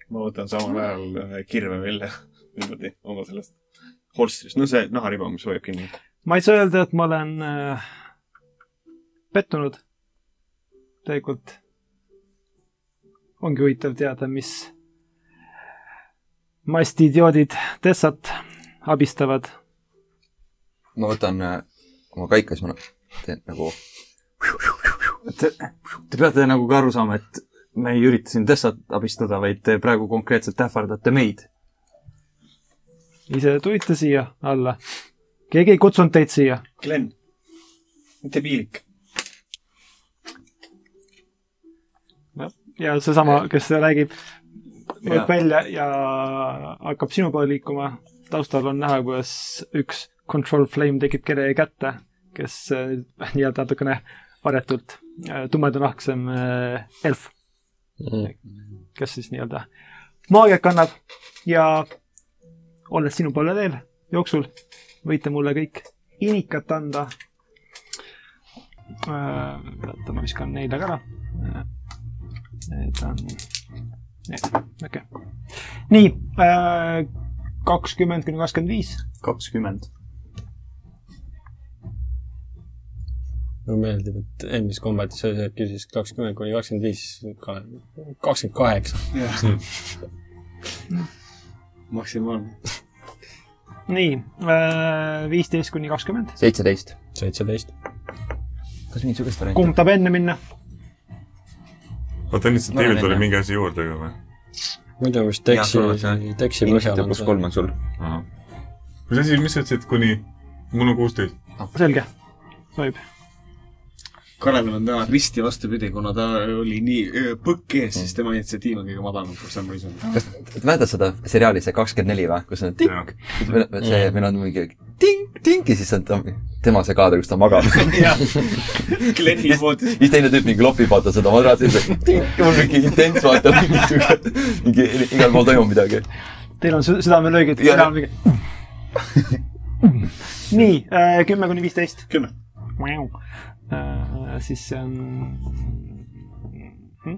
ma võtan samal ajal äh, kirve välja niimoodi oma sellest holstrist , no see nahariba , mis hoiab kinni .
ma ei saa öelda , et ma olen äh, pettunud . tegelikult ongi huvitav teada , mis mastidioodid Tessat abistavad .
ma võtan äh, oma kaikas ma teen nagu ,
Te, te peate nagu ka aru saama , et me ei ürita siin Tessat abistada , vaid te praegu konkreetselt ähvardate meid .
ise tulite siia alla . keegi ei kutsunud teid siia .
Glen , mitte piinlik .
ja seesama , kes räägib ,
Jaa.
tuleb välja ja hakkab sinu poole liikuma . taustal on näha , kuidas üks control flame tekib kellegi kätte , kes äh, nii-öelda natukene varjatult äh, tumedanahtsem äh, elf , kes siis nii-öelda maagiat kannab ja olles sinu poole teel jooksul , võite mulle kõik inikat anda . oota , ma viskan neile ka ära . Need on , okei . nii , kakskümmend kuni kakskümmend viis ,
kakskümmend .
mulle meeldib , et eelmises kombatis sa sa küsis kakskümmend kuni kakskümmend viis , kakskümmend kaheksa .
maksimaalne .
nii , viisteist kuni kakskümmend .
seitseteist .
seitseteist .
kas mingisugust varianti
kumb tahab enne minna ?
oota , initsiatiivil
No,
tuli
nii,
mingi asi juurde ka või ?
muidu vist
Jah,
teksi
sul on see- ,
teksi põhjal
inimesed
on
pluss
see .
kolm on sul .
mis asi , mis sa ütlesid , kuni , mul on kuusteist .
selge , sobib .
Kalevil on täna risti vastupidi , kuna ta oli nii öö, põkk ees , siis tema initsiatiiv on kõige madalam for some reason .
mäletad seda seriaali , see kakskümmend neli või , kus on tink , see , meil on mingi tink , tink ja siis on ta, tema see kaader , kus ta magab .
jah , Gleni poolt
siis teine tüüp mingi lopib , vaata seda madrat ja siis tink ja mul mingi intens vaata , mingi sihuke , mingi igal pool toimub midagi .
Teil on sü- südamelöögid
Jah.
enam mingi . nii , kümme kuni viisteist .
kümme .
siis see on mhm.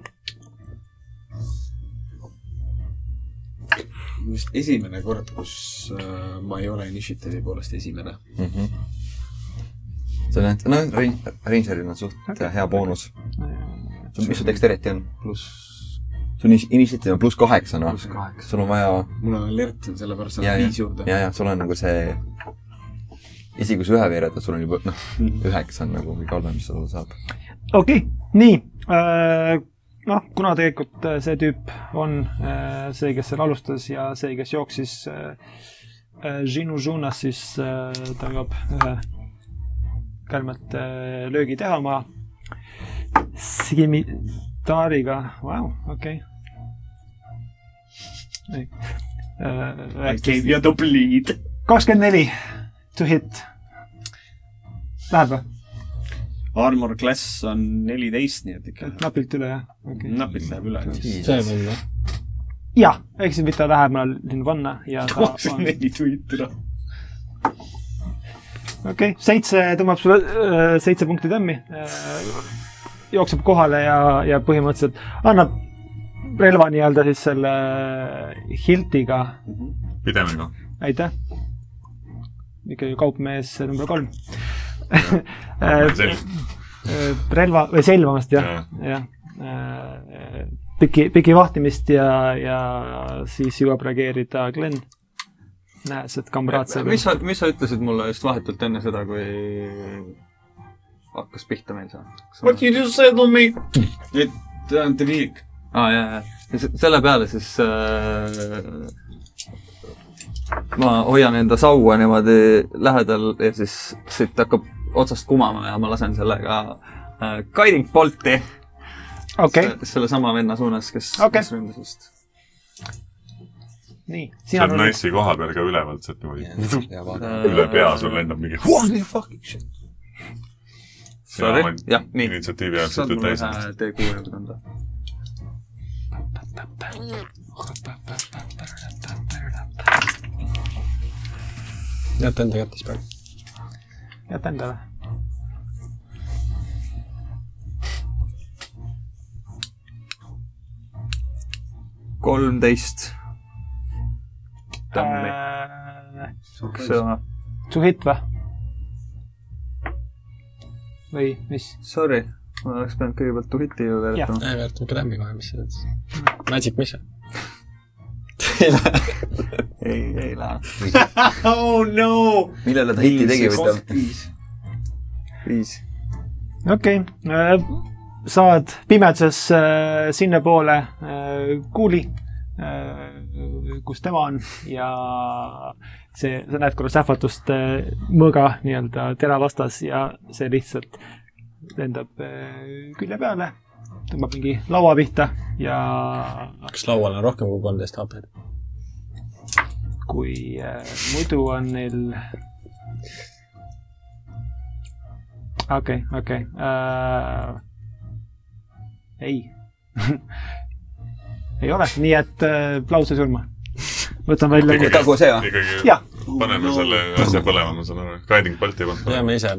vist esimene kord , kus äh, ma ei ole initiatiivi poolest esimene .
see on ainult , noh , rein- , reinseril on suht hea boonus . mis su dexterity on ?
pluss
sul on initsiatiiv on pluss kaheksa , noh .
pluss kaheksa .
sul on vaja
mul on alert , sellepärast saan
Jaa,
viis juurde .
ja , ja sul on nagu see , isegi kui sa ühe veeretad , sul on juba noh , üheksa on nagu kõige halvem , mis sul olla saab .
okei okay, , nii . noh , kuna tegelikult äh, see tüüp on äh, see , kes seal alustas ja see , kes jooksis äh, äh, sinu suunas , siis äh, ta jõuab ühe kärmelt äh, löögi teha oma skimitaariga , vau , okei .
I gave you the bleed .
Äh, kakskümmend neli to hit . Läheb või ?
Armor class on neliteist , nii et ikka
napilt üle jah ? okei .
napilt läheb üle .
see on jah .
jah , eks siin võite lähemale sinna panna ja ta on ,
kakskümmend neli tundi noh .
okei , seitse tõmbab sulle äh, seitse punkti tämmi äh, . jookseb kohale ja , ja põhimõtteliselt annab relva nii-öelda siis selle hiltiga ,
pidemega .
aitäh . ikkagi kaupmees number kolm relva või selvamast jah , jah . piki , piki vahtimist ja , ja siis jõuab reageerida Glen . näed , et kamraad seal .
mis sa , mis sa ütlesid mulle just vahetult enne seda , kui hakkas pihta meil see ?
What did you say to me ? et äh, ta on triik .
aa , Ah, jaa , jaa . ja se- selle peale siis äh, ma hoian enda saua niimoodi lähedal ja siis siit hakkab otsast kumama ja ma lasen sellega äh, guiding bolti
okei ,
Se- sellesama venna suunas , kes
Okei.
kes ründas just .
okay. nii ,
see
sina
on
tunned ,
naisi koha peal ka ülevalt sealt
Äh,
niimoodi
ja vaata .
üle pea sul lendab mingi .
Holy fucking shit .
Sorry , jah , nii .
initsiatiivi jaoks
saad
võtad
mulle
täis .
ühe D6 juurde anda ?
jäta enda kätte siis praegu .
jäta endale .
kolmteist . tammi , kas see on ,
To Äh, hit või ? või mis ?
sorry , ma oleks pidanud kõigepealt tuhiti ju veeretama .
ei , veereta ikka lämmi kohe , mis sa teed . Magic , mis see ?
ei , ei lähe .
Oh no . Oh
millele ta hiti tegi või ta ,
viis .
okei okay. , saad pimeduses äh, sinnapoole äh, kuuli , kus tema on ja see , sa näed korra sähvatust äh, mõõga nii-öelda tera vastas ja see lihtsalt lendab äh, külje peale , tõmbab mingi laua pihta ja
kas laual on rohkem kui kolmteist HP-d ?
kui äh, muidu on neil . okei , okei . ei , ei ole , nii et äh, lause surma . võtan välja
Okei. .
kogu see või ?
ikkagi
jah ,
paneme selle asja põlema , ma saan aru . Guiding Bolti ei pannud põlema .
peame ise ,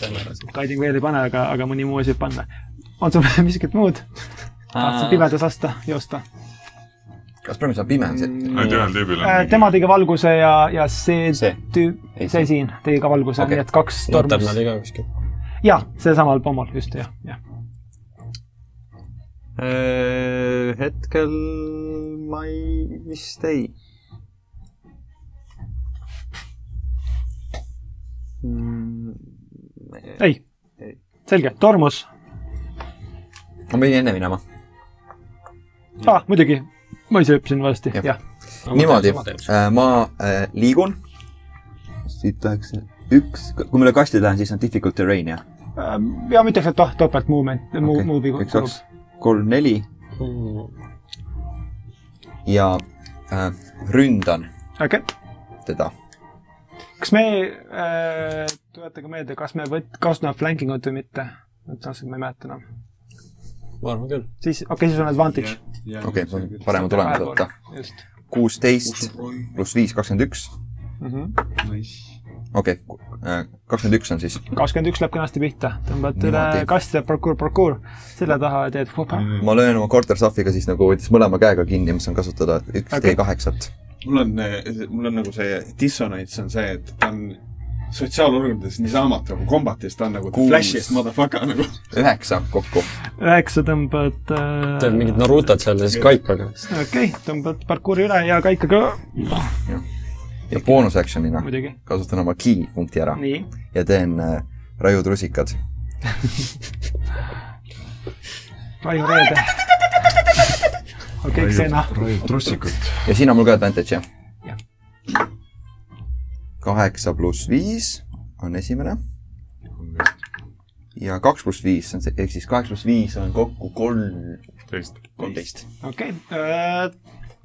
teeme ära siis .
guiding veel ei pane , aga , aga mõni muu asi võib panna . on sul miskit muud ? tahtsid pimedas lasta , joosta ?
kas praegu saab pime on see ?
ainult ühel tüübil
Äh,
on .
Äh, tema . tegi valguse ja , ja see, see.
See.
tüüp ,
Ei,
see
see.
siin tegi ka valguse okay. ,
Okei.
nii
nagu-
et kaks
notab nad
tormi .
iga kuskil .
jaa , sellel samal pommal , just , jah , jah .
äh,
hetkel ma ei , vist ei .
ei, ei. , selge , tormus
ma pidin enne minema .
ah, , muidugi , ma ise hüppasin valesti ,
Jah.
jah .
niimoodi , ma äh, liigun . siit tahaks , üks , kui ma üle kasti lähen , siis on difficult terrain jah ?
ja ma ütleks , et oh , topelt movement , muu , muu vigu .
üks , kaks , kolm , neli ja äh, ründan
okei ,
teda .
kas me äh, , tuletage meelde , kas me võt- , kasutame flanking ut või mitte ? täpselt ma ei mäleta enam .
ma arvan küll .
siis , okei okay, , siis on advantage .
okei okay, , parema tulemuse võtta .
just
kuusteist pluss viis , kakskümmend üks .
mm -hmm. .
okei , kakskümmend üks on siis .
kakskümmend üks läheb kenasti pihta , tõmbad üle
Niimoodi. Mhm.
kasti ja parkuur , parkuur selle taha ja teed hupa .
ma löön oma quarter staff'iga siis nagu võttis mõlema käega kinni , mis on kasutada üks
Okei.
okay. D8-t .
mul on , mul on nagu see dissonants on see , et ta on sotsiaalorganites niisama nagu kombatis , ta on nagu the
Kuus.
flash'iest motherfucker nagu .
üheksa kokku .
üheksa tõmbad äh,
teeb , mingit Narutot seal ja siis kaipaga .
okei okay, , tõmbad parkuuri üle ja kaika ka
ja boonus action'ina
muidugi ,
kasutan oma key punkti ära
nii .
ja teen äh, raiud rusikad .
Raiu Reede . okei , Xena ,
raiud trussikut .
ja siin on mul ka advantage , jah
Jah. ?
kaheksa pluss viis on esimene ja kaks pluss viis on see , ehk siis kaheksa pluss viis on kokku kolm ,
teist .
kolmteist .
okei äh, .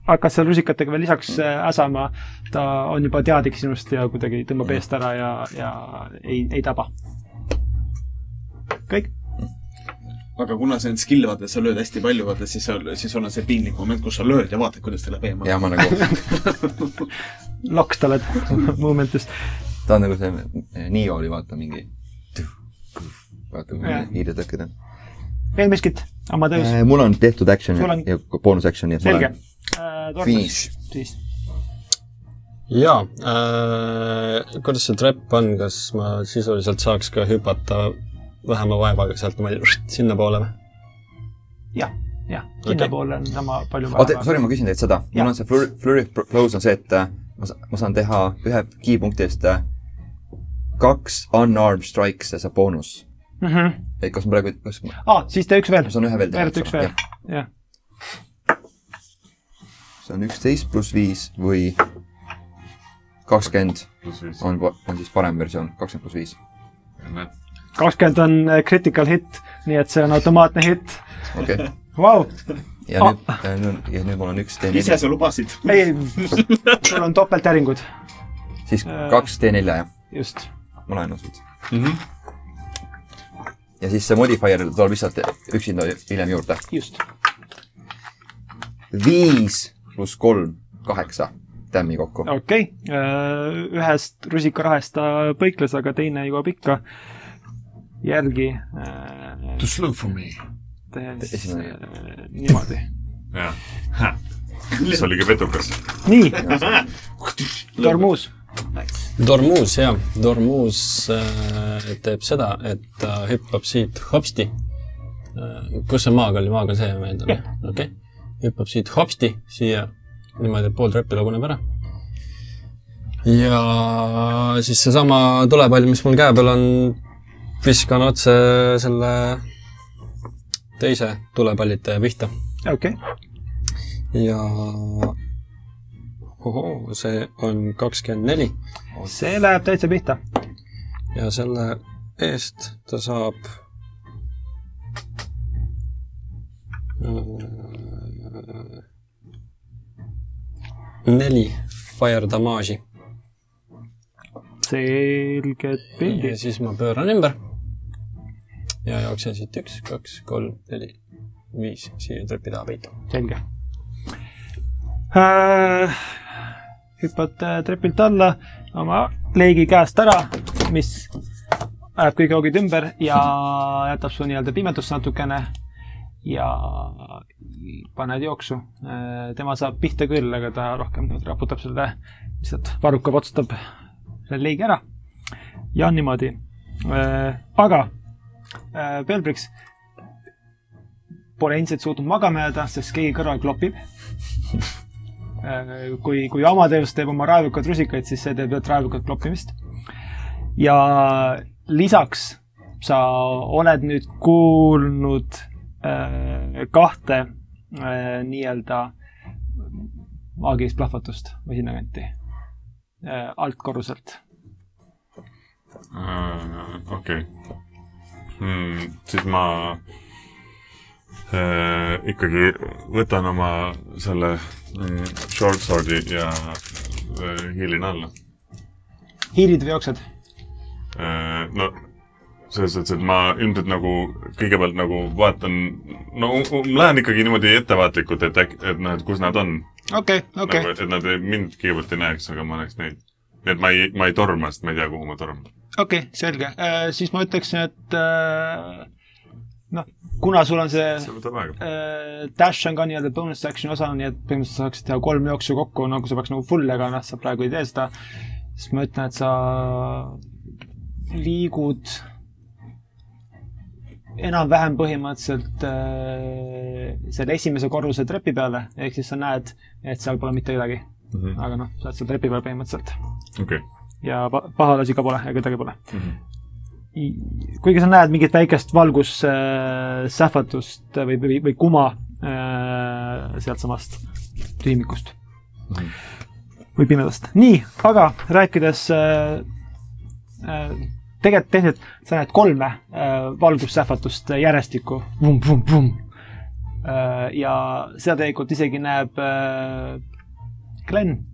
hakkas seal rusikatega veel lisaks äh, äsama , ta on juba teadlik sinust ja kuidagi tõmbab eest ära ja , ja ei , ei taba . kõik ,
aga kuna see on skill , vaata , sa lööd hästi palju , vaata , siis sa , siis sul on see piinlik moment , kus sa lööd ja vaatad , kuidas ta läheb eemale .
ja ma nagu ,
loks ta oled momentis .
ta on nagu see eh, Nio oli vaata mingi . vaata , kui
Jah.
hiiretõkked on .
veel miskit , Amadeus ,
mul on tehtud action
Sul on-
ja boonus action , nii et ma
selge
olen .
Tormas ,
finish .
siis
jaa äh, , kuidas see trepp on , kas ma sisuliselt saaks ka hüpata vähema vaevaga sealt niimoodi sinnapoole või ?
jah , jah , sinnapoole on sama palju
oota , sorry , ma küsin teilt seda .
Jah.
mul on see flurry , flurry of blows on see , et äh, ma saan , ma saan teha ühe keypunkti eest äh, kaks unarmed strikes ja see boonus .
mm . -hmm.
et kas ma praegu , kas ma
Ah, siis tee üks veel
ma , saan ühe veel teha ?
veel üks veel , jah .
see on üksteist pluss viis või kakskümmend
pluss viis .
on , on siis parem versioon , kakskümmend pluss viis .
näed ,
kakskümmend on äh, critical hit , nii et see on automaatne hitt .
okei okay. .
Vau ,
ja
Ah.
nüüd , ja nüüd , ja nüüd mul on üks
ise
D4 ,
sa lubasid .
ei , sul on topelttäringud ,
siis
äh.
kaks D4 jah ,
just .
ma laen osalt mm .
Mhm.
-hmm. ja siis see modifier tuleb lihtsalt üksinda hiljem juurde .
just .
viis pluss kolm , kaheksa tämmi kokku .
okei okay. , ühest rusikarahest ta põikles , aga teine jõuab ikka jälgi . To slow for me . tehes
Esimene.
äh, niimoodi .
jah . see oli ka petukas .
nii , Tormuus ,
Dormuus , jah , Dormuus äh, teeb seda , et ta hüppab siit hopsti äh, . kus see maag oli , maag on see meelde , okei okay. . hüppab siit hopsti siia niimoodi , et pool treppi laguneb ära . ja siis seesama tulepall , mis mul käe peal on , viskan otse selle teise tulepallitaja pihta
okei ,
ja ohoo , see on kakskümmend neli
see läheb täitsa pihta .
ja selle eest ta saab äh, neli fire damage'i
selged
ja
pildid .
siis ma pööran ümber ja jooksen siit üks , kaks , kolm , neli , viis siia trepi taha peitu .
selge äh, . hüppad äh, trepilt alla oma leigi käest ära , mis ajab kõik joogid ümber ja jätab su nii-öelda pimedusse natukene ja paned jooksu . tema saab pihta küll , aga ta rohkem nüüd raputab selle , lihtsalt varruka potsutab selle leigi ära . ja niimoodi . aga äh, Pelbriks pole endiselt suutnud magama jääda , sest keegi kõrval klopib . kui , kui Amadeus teeb oma raevukad rusikaid , siis see teeb raevukat kloppimist . ja lisaks sa oled nüüd kuulnud äh, kahte äh, nii-öelda maagilist plahvatust või sinnakanti äh, altkorruselt .
Äh, okei . siis ma äh, ikkagi võtan oma selle mm, short sword'i ja äh, hiilin alla
hiilid või jooksed ?
Äh, no selles suhtes , et ma ilmselt nagu kõigepealt nagu vaatan , no u- u- lähen ikkagi niimoodi ettevaatlikult , et äkki , et noh , et kus nad on
okei , okei
nagu, . et nad ei- mind kõigepealt ei näeks , aga ma näeks neid . nii et ma ei , ma ei torma , sest ma ei tea , kuhu ma torman .
okei okay, , selge äh, , siis ma ütleksin , et äh, noh , kuna sul on see
see võtab aega .
äh, dash on ka nii-öelda bonus action'i osa , nii et põhimõtteliselt sa saaksid teha kolm jooksu kokku , nagu sa peaks nagu full , aga noh , sa praegu ei tee seda . siis ma ütlen , et sa liigud enam-vähem põhimõtteliselt äh, selle esimese korruse trepi peale , ehk siis sa näed , et seal pole mitte kedagi . aga noh , sa oled seal trepi peal põhimõtteliselt
okei ,
ja pa- pahalasi ka pole ja kedagi pole mm . -hmm. kuigi sa näed mingit väikest valgussähvatust või , või , või kuma äh, sealtsamast tühimikust mm . -hmm. või pimedast . nii , aga rääkides äh, äh, tegelikult tehniliselt sa näed kolme äh, valgussähvatust järjestikku . Äh, ja seda tegelikult isegi näeb äh, Glen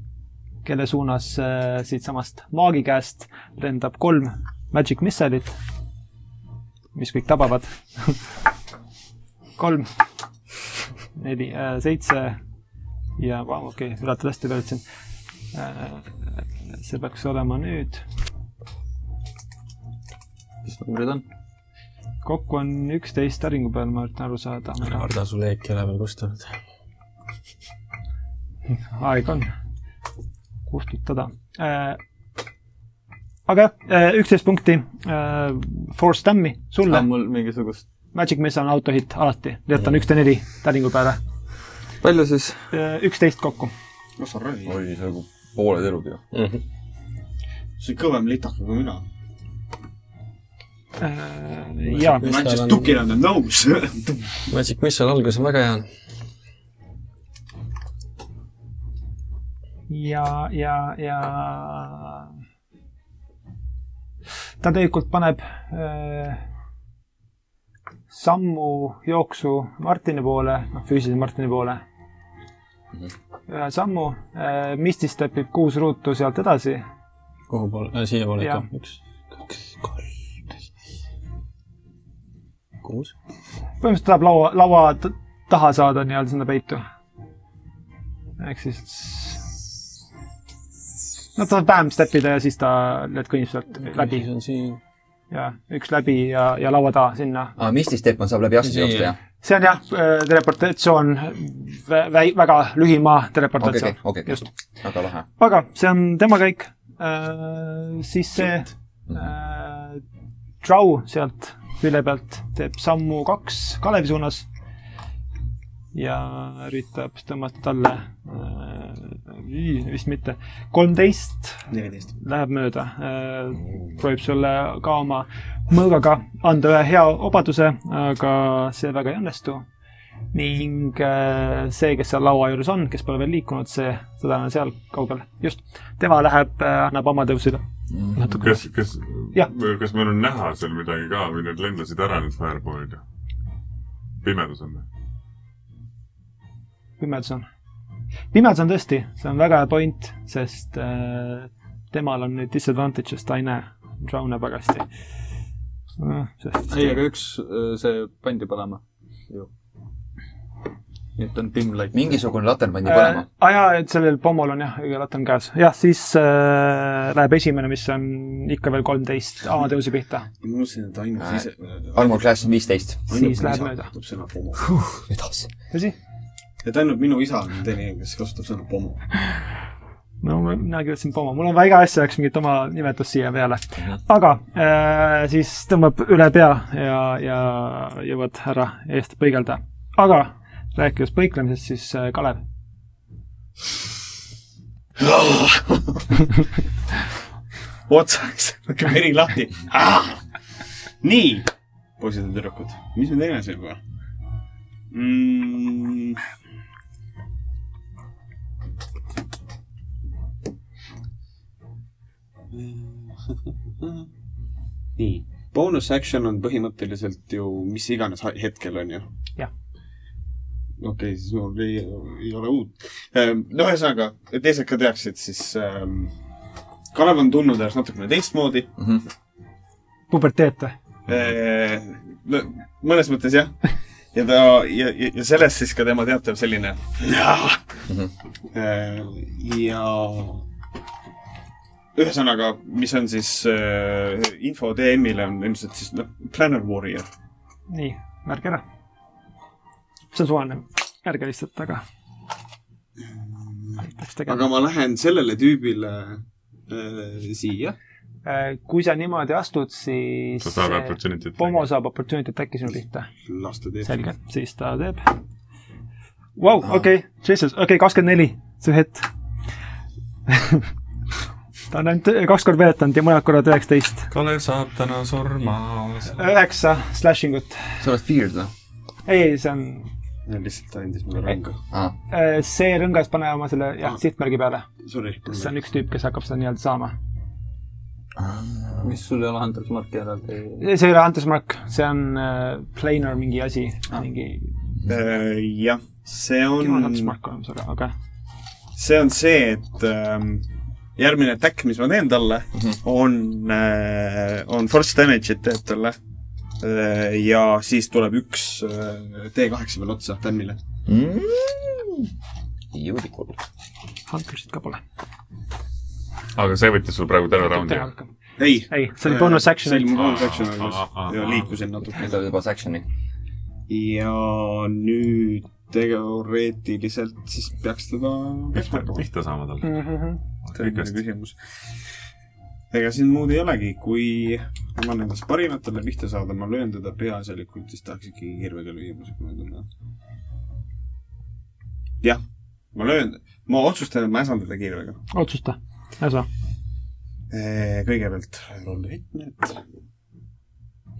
kelle suunas äh, siitsamast maagi käest lendab kolm magic missile'it , mis kõik tabavad . kolm , neli äh, , seitse ja vau , okei okay, , ületad hästi pealt siin äh, . see peaks olema nüüd ,
mis numbrid on ?
kokku on üksteist päringu peal , ma üritan aru saada ,
Harda , sul leek ei ole veel kustunud .
aeg on kustutada äh, . aga jah , üksteist punkti äh, force dam'i sulle
on . mul mingisugust ,
Magic Missile on autohitt alati , jätan üks ja neli täringu peale .
palju siis ?
üksteist kokku .
no sa raisk ,
oi , see on nagu pooled elud ju .
sa oled kõvem litaka kui mina .
Äh, ja ,
ma olen siis tukil on ta nõus .
Magic Missile algus on väga hea .
ja , ja , ja . ta tegelikult paneb äh, sammu jooksu Martini poole , noh füüsilise Martini poole . ühe sammu äh, , Mistis täpib kuus ruutu sealt edasi
kuhu poole äh, , siiapoole
Jah.
ikka . üks , kaks , kolm , neli , kuus .
põhimõtteliselt tahab laua , laua t- taha saada nii-öelda sinna peitu . ehk siis . no ta saab vähem step ida ja siis ta lihtsalt kõnnib sealt läbi
siis on siin .
ja üks läbi ja , ja laua taha sinna .
aa , Mistis teeb , ma saab läbi asjade
Nii.
joosta , jah ?
see on jah , teleportatsioon , vä- , väga lühimaa
okei ,
teleportatsioon
okei , okei ,
just .
okei . väga lahe .
aga see on tema käik äh, . siis see äh, Drow sealt külje pealt teeb sammu kaks Kalevi suunas . ja üritab tõmmata talle äh, , vist mitte , kolmteist
neliteist .
läheb mööda . proovib sulle ka oma mõõgaga anda ühe hea obaduse , aga see väga ei õnnestu . ning äh, see , kes seal laua juures on , kes pole veel liikunud , see , seda on seal kaugel , just . tema läheb , annab oma tõusule natuke .
kas , kas
Jah. ,
kas meil on näha seal midagi ka või need lendasid ära , need fireballid ? pimedus on või ?
pimedus on . pimedus on tõesti , see on väga hea point , sest äh, temal on nüüd disadvantage , sest ta ei näe , drown näeb väga hästi . Äh,
ei , aga üks , see pandi põlema ju . nii et on pimm läinud .
mingisugune latern pandi
Äh.
põlema .
aa jaa , et sellel pommol on jah , õige latt on käes . jah , siis äh, läheb esimene , mis on ikka veel kolmteist amatõusi pihta .
ma mõtlesin , et ainult
Äh,
ise .
Armor Class on viisteist .
siis läheb mööda.
kasutab sõna pomo .
edasi .
tõsi ?
et ainult minu isa on teine , kes kasutab sõna pomo .
no ma- mina kirjutasin pomo , mul on väga asja jaoks mingit oma nimetust siia peale . aga äh, siis tõmbab üle pea ja , ja jõuad härra eest põigelda . aga rääkides põiklemisest , siis äh, Kalev ,
otsaks , hakkab veri lahti . nii , poisid ja tüdrukud , mis me teeme siin kohe mm. ? nii , bonus action on põhimõtteliselt ju mis iganes ha- hetkel , on ju ?
Jah.
okei okay, , siis mul ei, ei ole uut . Ehm, no ühesõnaga , et teised ka teaksid , siis ähm, Kalev on tundnud ennast natukene teistmoodi .
puberteet või ?
Ehm, no mõnes mõttes jah . ja ta ja , ja, ja sellest siis ka tema teatav selline . ja ühesõnaga , mis on siis eh, info DM-ile on ilmselt siis noh , Planner Warrior .
nii , märge ära . see on suvaline märge lihtsalt , aga . aitaks
aga
tegema .
ma lähen sellele tüübile eh, siia .
Äh, kui sa niimoodi astud , siis .
sa saad opportunity't .
Pomo saab opportunity attack'i sinu pihta .
las ta teeb .
selge , siis ta teeb . Vau ,
Ah.
okei , Jesus , okei , kakskümmend neli , see hett . ta on ainult äh, kaks korda veeretanud ja mõned korrad üheksateist .
Kalev saab täna surma .
üheksa slashing ut .
sa oled noh? feared või ?
ei , see on ,
lihtsalt ta andis mulle rõnga .
see rõngas pane oma selle ,
Ah.
jah , sihtmärgi peale .
Sorry .
see on üks tüüp , kes hakkab seda nii-öelda saama .
mis sul ei ole Hunter's Marki ära teinud ?
see ei ole Hunter's Mark , see on äh, planar mingi asi ,
Ah.
mingi ,
Äh, jah , see
kindlalt on
on
Hunter's . Mark olemas , aga , aga
see on see , et ähm, järgmine attack , mis ma teen talle mm ,
Mhm.
-hmm. on äh, , on force damage'it teeb talle äh, . ja siis tuleb üks äh, T8 peale otsa tämile .
Beautiful .
Hunter'sit ka pole .
aga see võttis sul praegu terve raundi .
ei .
ei , see oli bonus action .
see oli mu bonus action ,
Ah, ah,
aga
ah.
liikusin natuke
nüüd . tuleb juba action'i .
ja nüüd teoreetiliselt siis peaks teda
miks me
keskmärkama .
pihta saame talle ?
Mhm.
kõigest .
küsimus . ega siin muud ei olegi , kui ma annan kas parimatele pihta saada , ma löön teda peaasjalikult , siis tahaks ikkagi kirvega lüüa , ma siukene tunne . jah , ma löön , ma otsustan , et ma äsan teda kirvega .
otsusta , ühesõnaga .
kõigepealt roll hitmed .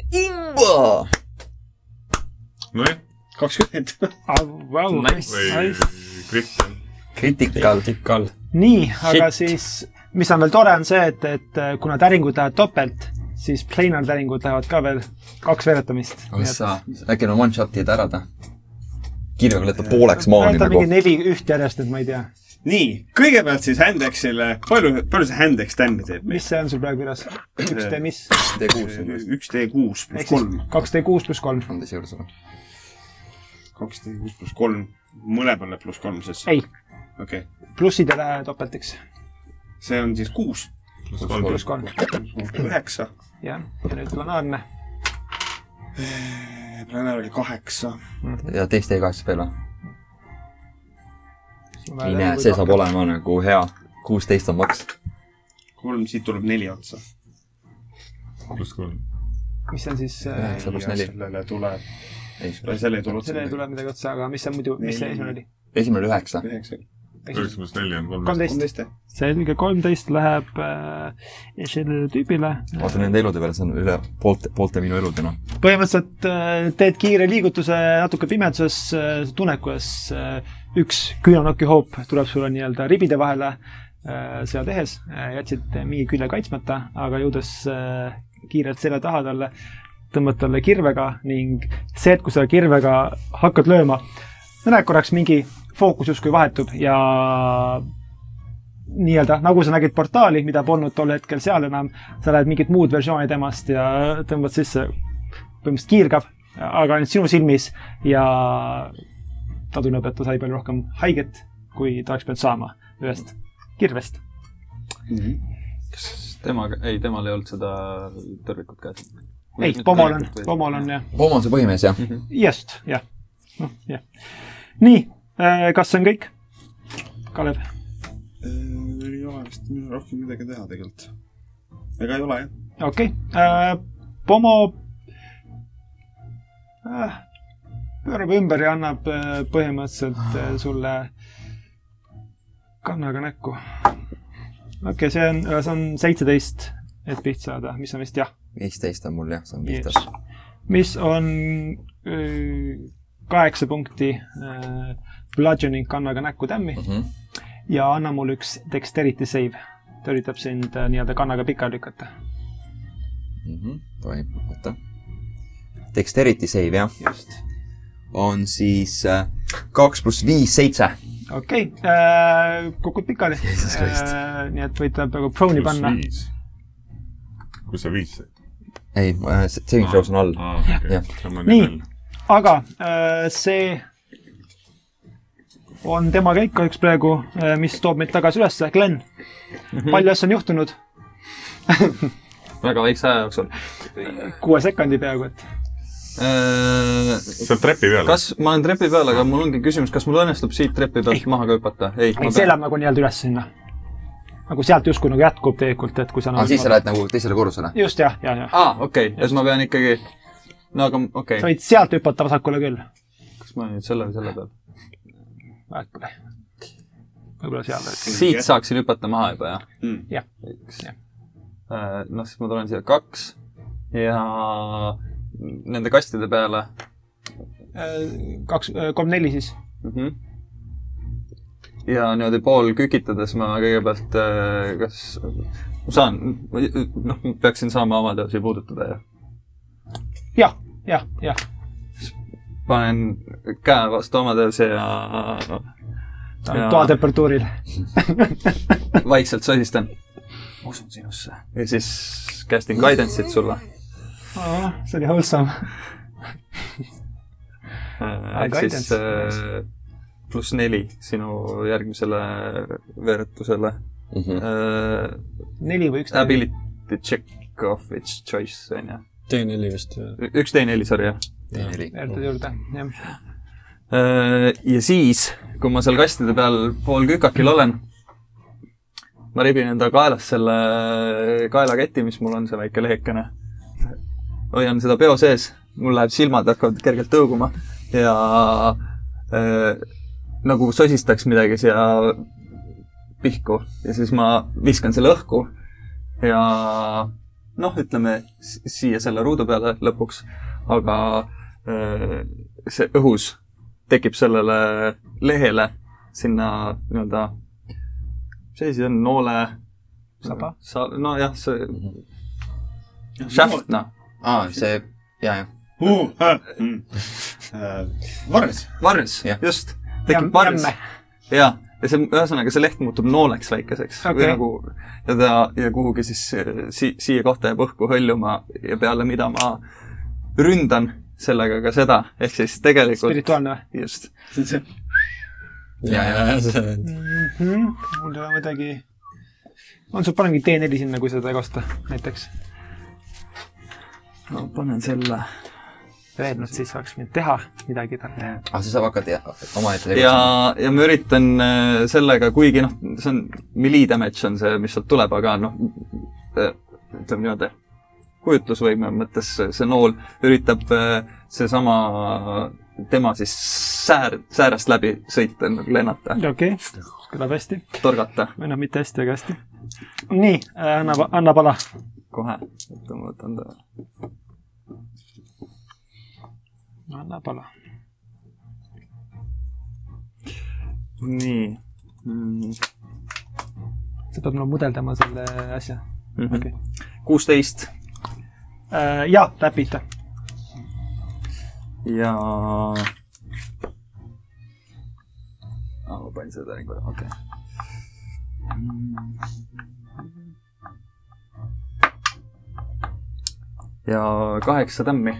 Mm.
nojah ,
kakskümmend .
Ah, wow, nice.
või
Nice.
Kristjan .
Critical .
tikal .
nii , aga
Shit.
siis , mis on veel tore , on see , et , et äh, kuna täringud lähevad topelt , siis planar täringud lähevad ka veel kaks veeretamist .
oh sa , äkki on one-shot'id ära ta ? kirjaga lõpeb pooleks maani
ta on
nagu
mingi . neli üht järjest , nüüd ma ei tea ,
nii , kõigepealt siis Handexile , palju , palju see Handex tämmi teeb meist ?
mis see on sul praegu kirjas ? üks D mis ?
T6 on vist .
üks D kuus
ehk
pluss
siis
kolm .
kaks D kuus pluss kolm .
on ta siia juures või ?
kaks D kuus pluss kolm , mõlemale pluss kolm siis .
ei ,
okei okay. ,
plussid ei lähe topeltiks .
see on siis kuus
pluss kolm .
pluss kolm ,
üheksa .
jah . ja nüüd planaarne .
Planner oli kaheksa .
ja teist E8 veel või ?
Äh,
ei näe , see saab . olema nagu hea . kuusteist on maks .
kolm , siit tuleb neli otsa .
pluss kolm .
mis on siis äh, ,
Üheksa pluss neli .
sellele tuleb ,
ei ,
sellele ei tule otsa
sellele ei tule
midagi .
midagi otsa , aga mis see muidu , mis see
Neli.
esimene oli ?
esimene oli üheksa .
üheksa ,
üheksa pluss neli on kolmteist .
kolmteist ,
kolmteist jah ?
selge , kolmteist läheb äh, sellele tüübile .
vaata nende elude peale , see on üle poolte , poolte minu elud ja noh .
põhimõtteliselt äh, teed kiire liigutuse natuke pimeduses , sa tunned , kuidas äh, üks küünanoki hoop tuleb sulle nii-öelda ribide vahele äh, seda tehes , jätsid mingi külje kaitsmata , aga jõudes äh, kiirelt selja taha talle , tõmbad talle kirvega ning see hetk , kui sa kirvega hakkad lööma , sa näed korraks mingi fookus justkui vahetub ja nii-öelda , nagu sa nägid portaali , mida polnud tol hetkel seal enam , sa näed mingit muud versiooni temast ja tõmbad sisse põhimõtteliselt kiirgab , aga ainult sinu silmis ja ta tunneb , et ta sai palju rohkem haiget , kui ta oleks pidanud saama ühest kirvest .
kas temaga , ei , temal ei olnud seda tõrvikut käes ?
ei , pomol on , pomol on . jah ,
Poom on see põhimees , jah ?
Mhm. just , jah , noh , jah . nii , kas see on kõik ? Kalev ,
Äh, ei ole vist rohkem midagi teha tegelikult . ega ei ole jah .
okei okay. , Pomo äh, pöörab ümber ja annab äh, põhimõtteliselt äh, sulle kannaga näkku . okei okay, , see on , see on seitseteist , et pihta saada , mis on vist jah ,
viisteist on mul jah , see on pihtas .
mis on öö, kaheksa punkti äh, bludgeoning kannaga näkku tämmi ja anna mulle üks dexterity save . ta üritab sind äh, nii-öelda kannaga pikali lükata .
Mhm. tohib , oota . Dexterity save , jah ?
just ,
on siis äh, kaks pluss viis , seitse .
okei okay, , kukud pikali .
Jesus Christ.
nii et võid ta peaaegu prone'i panna .
viis . kus sa viis said ?
ei , saving throws on all .
aa , okei
Jah. ,
sama
Nii.
nii .
aga äh, see on tema käik kahjuks praegu , mis toob meid tagasi ülesse . Glen ,
Mhm.
palju asju on juhtunud ?
väga väikse aja jooksul .
kuue sekundi peaaegu , et
sa oled trepi peal ?
Äh, kas , ma olen trepi peal , aga mul ongi küsimus , kas mul õnnestub siit trepi pealt maha ka hüpata ? ei ,
ei , see läheb nagu nii-öelda üles sinna . nagu sealt justkui nagu jätkub tegelikult , et kui sa
aga siis sa lähed nagu teisele korrusele .
just jah , ja , ja .
aa , okei , et ma pean ikkagi , no aga okei
sa
okay. ,
võid sealt hüpata vasakule küll .
kas ma nüüd selle või selle peal ?
äkki . võib-olla seal .
siit saaksin hüpata maha juba , jah
Mm.
Jah. ?
üks
Jah. .
noh , siis ma tulen siia kaks ja nende kastide peale
Äh, kaks , kolm-neli siis .
mm . -hmm. ja niimoodi pool kükitades ma kõigepealt , kas ma saan , noh , peaksin saama oma teosi puudutada ja
jah , jah , jah .
panen käe vastu oma teosi ja
ta on
Jaa.
toatemperatuuril .
vaikselt sosistan . ma usun sinusse . ja siis casting guidance'it sulle .
see oli wholesome .
Äh, ehk siis
guidance,
äh, pluss neli sinu järgmisele veeretusele äh, .
neli või üks ?
Ability check of its choice on ju .
T4 vist . äh,
üks D4 , sorry jah .
veertad juurde , jah .
Äh, ja siis , kui ma seal kastide peal pool kükakil olen , ma ribin enda kaelas selle kaelaketi , mis mul on , see väike lehekene . hoian seda peo sees , mul läheb silmad hakkavad kergelt tõuguma ja äh, nagu sosistaks midagi siia pihku ja siis ma viskan selle õhku ja noh , ütleme s- siia selle ruudu peale lõpuks , aga äh, see õhus tekib sellele lehele sinna nii-öelda , mis asi see on , noole ?
Saba? ?
nojah , see shaft , noh ,
aa , Ah, see , jaa , jah .
Uh, Mm. Äh, Varres ,
varns
Jah. ,
just ,
Jäm-
tekib varns
jämme. .
ja , ja see , ühesõnaga see leht muutub nooleks väikeseks
Okei.
või nagu ja ta ja kuhugi siis äh, si- , siia kohta jääb õhku hõljuma ja peale mida ma ründan sellega ka seda , ehk siis tegelikult
spirituaalne või ?
just ,
see on see
ja , ja see
mm . -hmm. mul ei ole midagi . on sul paremgi T4 sinna , kui seda ei kosta , näiteks .
ma panen selle
Öelnud siis saaks mind teha midagi talle .
aa , Ah, siis saab hakata jah, omaette tegutsema .
ja , ja ma üritan äh, sellega , kuigi noh , see on melee damage on see , mis sealt tuleb , aga noh , äh, ütleme niimoodi , kujutlusvõime mõttes see nool üritab äh, seesama tema siis säär , säärest läbi sõita , lennata ,
okei okay. , kõlab hästi .
torgata
või noh , mitte hästi , aga hästi . nii , anna , anna pala .
kohe . oota , ma võtan ta .
anna pala .
nii mm. .
sa pead mulle nagu mudeldama selle asja .
kuusteist
Äh, jaa , läheb pihta .
ja . aa , Ah, ma panin seda nii korra , okei okay. . ja kaheksa tämmi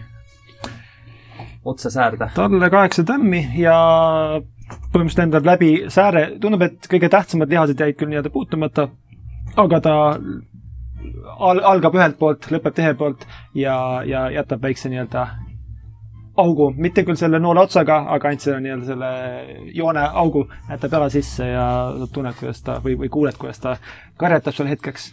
otse säärde .
talle kaheksa tämmi ja põhimõtteliselt lendab läbi sääre , tundub , et kõige tähtsamad lihased jäid küll nii-öelda puutumata , aga ta al- , algab ühelt poolt , lõpeb tehe poolt ja , ja jätab väikse nii-öelda augu , mitte küll selle noole otsaga , aga ainult selle nii-öelda selle joone augu jätab jala sisse ja sa tunned , kuidas ta või , või kuuled , kuidas ta karjatab seal hetkeks .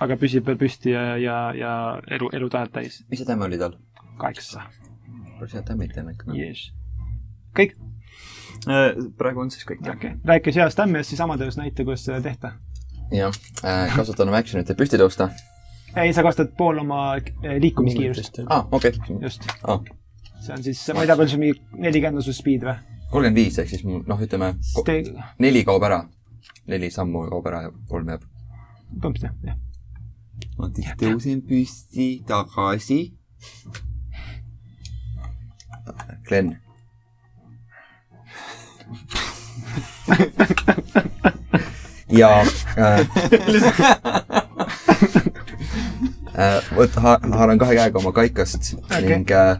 aga püsib veel püsti ja , ja , ja elu , elutahet täis .
mis see tämme oli tal ?
kaheksa .
see tämmid teen ikka .
Yes. kõik ,
Äh, praegu on siis kõik jah .
okei okay. , rääkis heast ämmest , siis Amadeus näita , kuidas seda tehta .
jah , kasutan oma action'it , et püsti tõusta .
ei , sa kasutad pool oma eh, liikumiskiirust ,
aa , Ah, okei Ah, okay. .
just .
aa ,
see on siis , ma ei tea , palju see mingi nelikümmend on su speed või ?
kolmkümmend viis ehk siis mul noh , ütleme ko-
põhimõtteliselt
neli kaob ära . neli sammu kaob ära ja kolm jääb .
jah , jah .
ma siis tõusin püsti tagasi . Glen , ja äh, äh, võt- , ha- , haaran kahe käega oma kaikast okay. ning äh,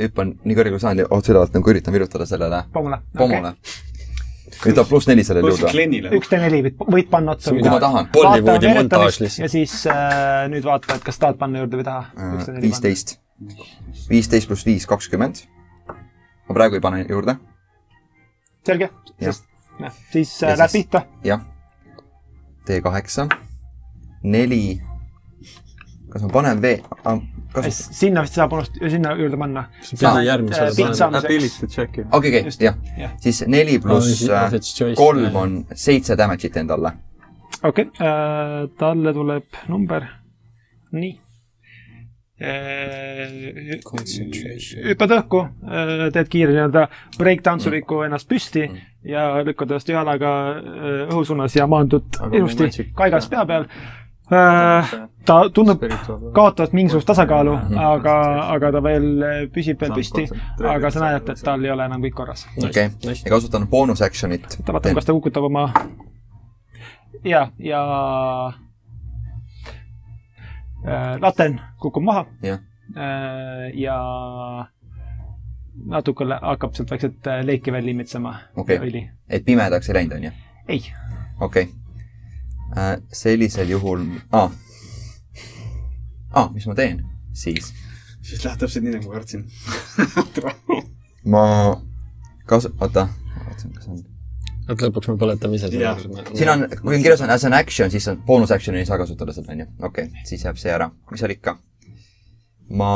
hüppan nii kõrgele kui saan ja otse ülevalt nagu üritan virutada sellele
Pomule .
pomole okay. . nüüd ta pluss neli sellele
pluss
juurde .
Glenile .
üks D4 võid , võid panna otsa .
kui ma tahan .
Bollywoodi montaaž lihtsalt .
ja siis äh, nüüd vaata , et kas tahad panna juurde või taha .
Äh, viisteist , viisteist pluss viis , kakskümmend . ma praegu ei pane juurde ,
selge ,
Jah.
sest noh , siis äh,
Ja
läheb
siis-
pihta .
jah . T kaheksa , neli . kas ma panen vee- , kas ,
sinna vist saab unust- , sinna juurde panna .
Aa,
pidi järgmisele
äh, pizza- Saamiseks.
panema .
Ability check'i .
Ah, okei ,
Just,
okei ,
jah.
jah . siis neli pluss äh, kolm on seitse damage'it endale .
okei okay, äh, , talle tuleb number , nii äh, . hüppad õhku äh, , teed kiire nii-öelda breakdantsuriku ennast püsti ja lükkad ennast ühe jalaga äh, õhusuunas ja maandud
Aga
ilusti
magic-
kaigas pea peal äh, . ta tundub kaotavat mingisugust tasakaalu , aga , aga ta veel äh, püsib veel püsti . aga sa näed , et tal ei ole enam kõik korras .
okei , ja kasutan boonus action'it .
ta vaatab , kas ta kukutab oma ja , ja äh, laten kukub maha
Jah.
äh, ja natuke lä- hakkab sealt vaikselt äh, leeki veel limitsema
Okei.
õli .
et pimedaks ei läinud , on ju ?
ei ,
okei okay. . sellisel juhul ah. , ah, mis ma teen siis ?
siis läheb täpselt nii , nagu ma kartsin .
ma kas- , oota , vaatasin , kas on .
et lõpuks me põletame ise
Jah.
selle .
siin on , kui on kirjas on as an action , siis on boonus action'i ei saa kasutada seda , on ju . okei okay, , siis jääb see ära . mis seal ikka . ma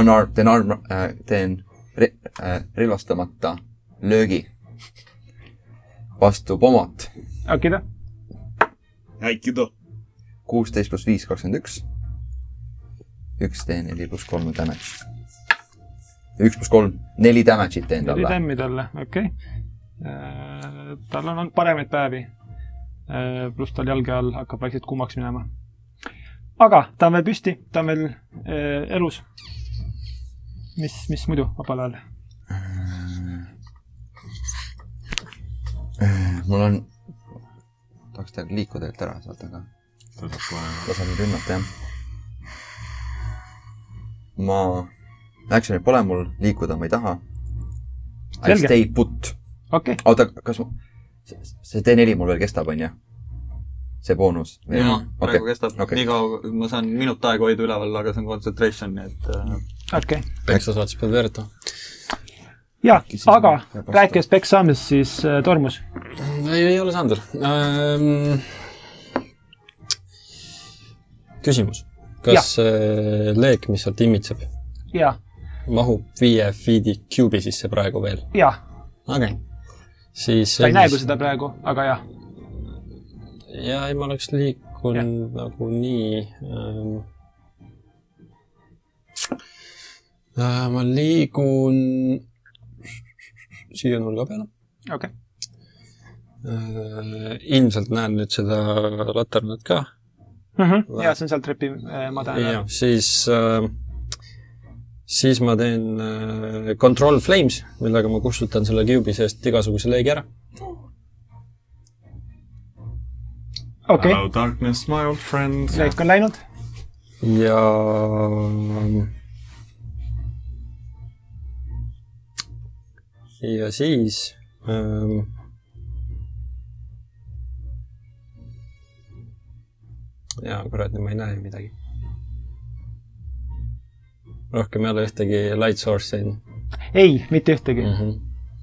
unarm- , teen arm- äh, , teen re, äh, relvastamata löögi vastu pomot .
okei ,
Aikido .
kuusteist pluss viis , kakskümmend üks . üks teen neli pluss kolm on damage . üks pluss kolm , neli damage'it teen
neli
talle .
tämmi talle , okei . tal on olnud paremaid päevi . pluss tal jalge all hakkab vaikselt kuumaks minema . aga ta on veel püsti , ta on veel äh, elus . mis , mis muidu vabal ajal ?
mul on , tahaks tegelikult liikuda tegelikult ära sealt , aga
ta saab kohe .
ta saab nüüd rünnata , jah . ma , action'it pole mul , liikuda ma ei taha . I
Selge.
stay put .
okei okay. ,
oota , kas ma , see T4 mul veel kestab , on ju ? see boonus ?
jaa , praegu kestab
okei.
okay. nii kaua , ma saan minut aega hoida üleval , aga see on concentration , nii et äh,
okei okay. .
peksa saad , siis pead veeretama .
ja ,
Siis
aga
jääb vastu.
rääkides peksa saamisest , siis äh, tormus .
Ehm, ei , ei ole saanud veel ähm... . küsimus . kas äh, leek , mis sealt imitseb ,
ja ,
mahub viie feet'i cube'i sisse praegu veel ?
ja ,
okei okay. . siis .
ta ei näe , kui seda . praegu , aga jah ,
ja ei , ma oleks liikunud nagunii ähm, . Äh, ma liigun siia nurga peale
okei okay. .
äh, . ilmselt näen nüüd seda laternat ka .
Mm -hmm. ja see on seal trepi äh, madal .
jah , siis äh, , siis ma teen äh, control flames , millega ma kustutan selle cube'i seest igasuguse leegi ära .
okei ,
Hello darkness , my old friend .
leek on läinud .
ja . ja siis ähm, . jaa , kurat , nüüd ma ei näe ju midagi . rohkem ei ole ühtegi light source'i mm .
ei , mitte ühtegi mm. .
-hmm.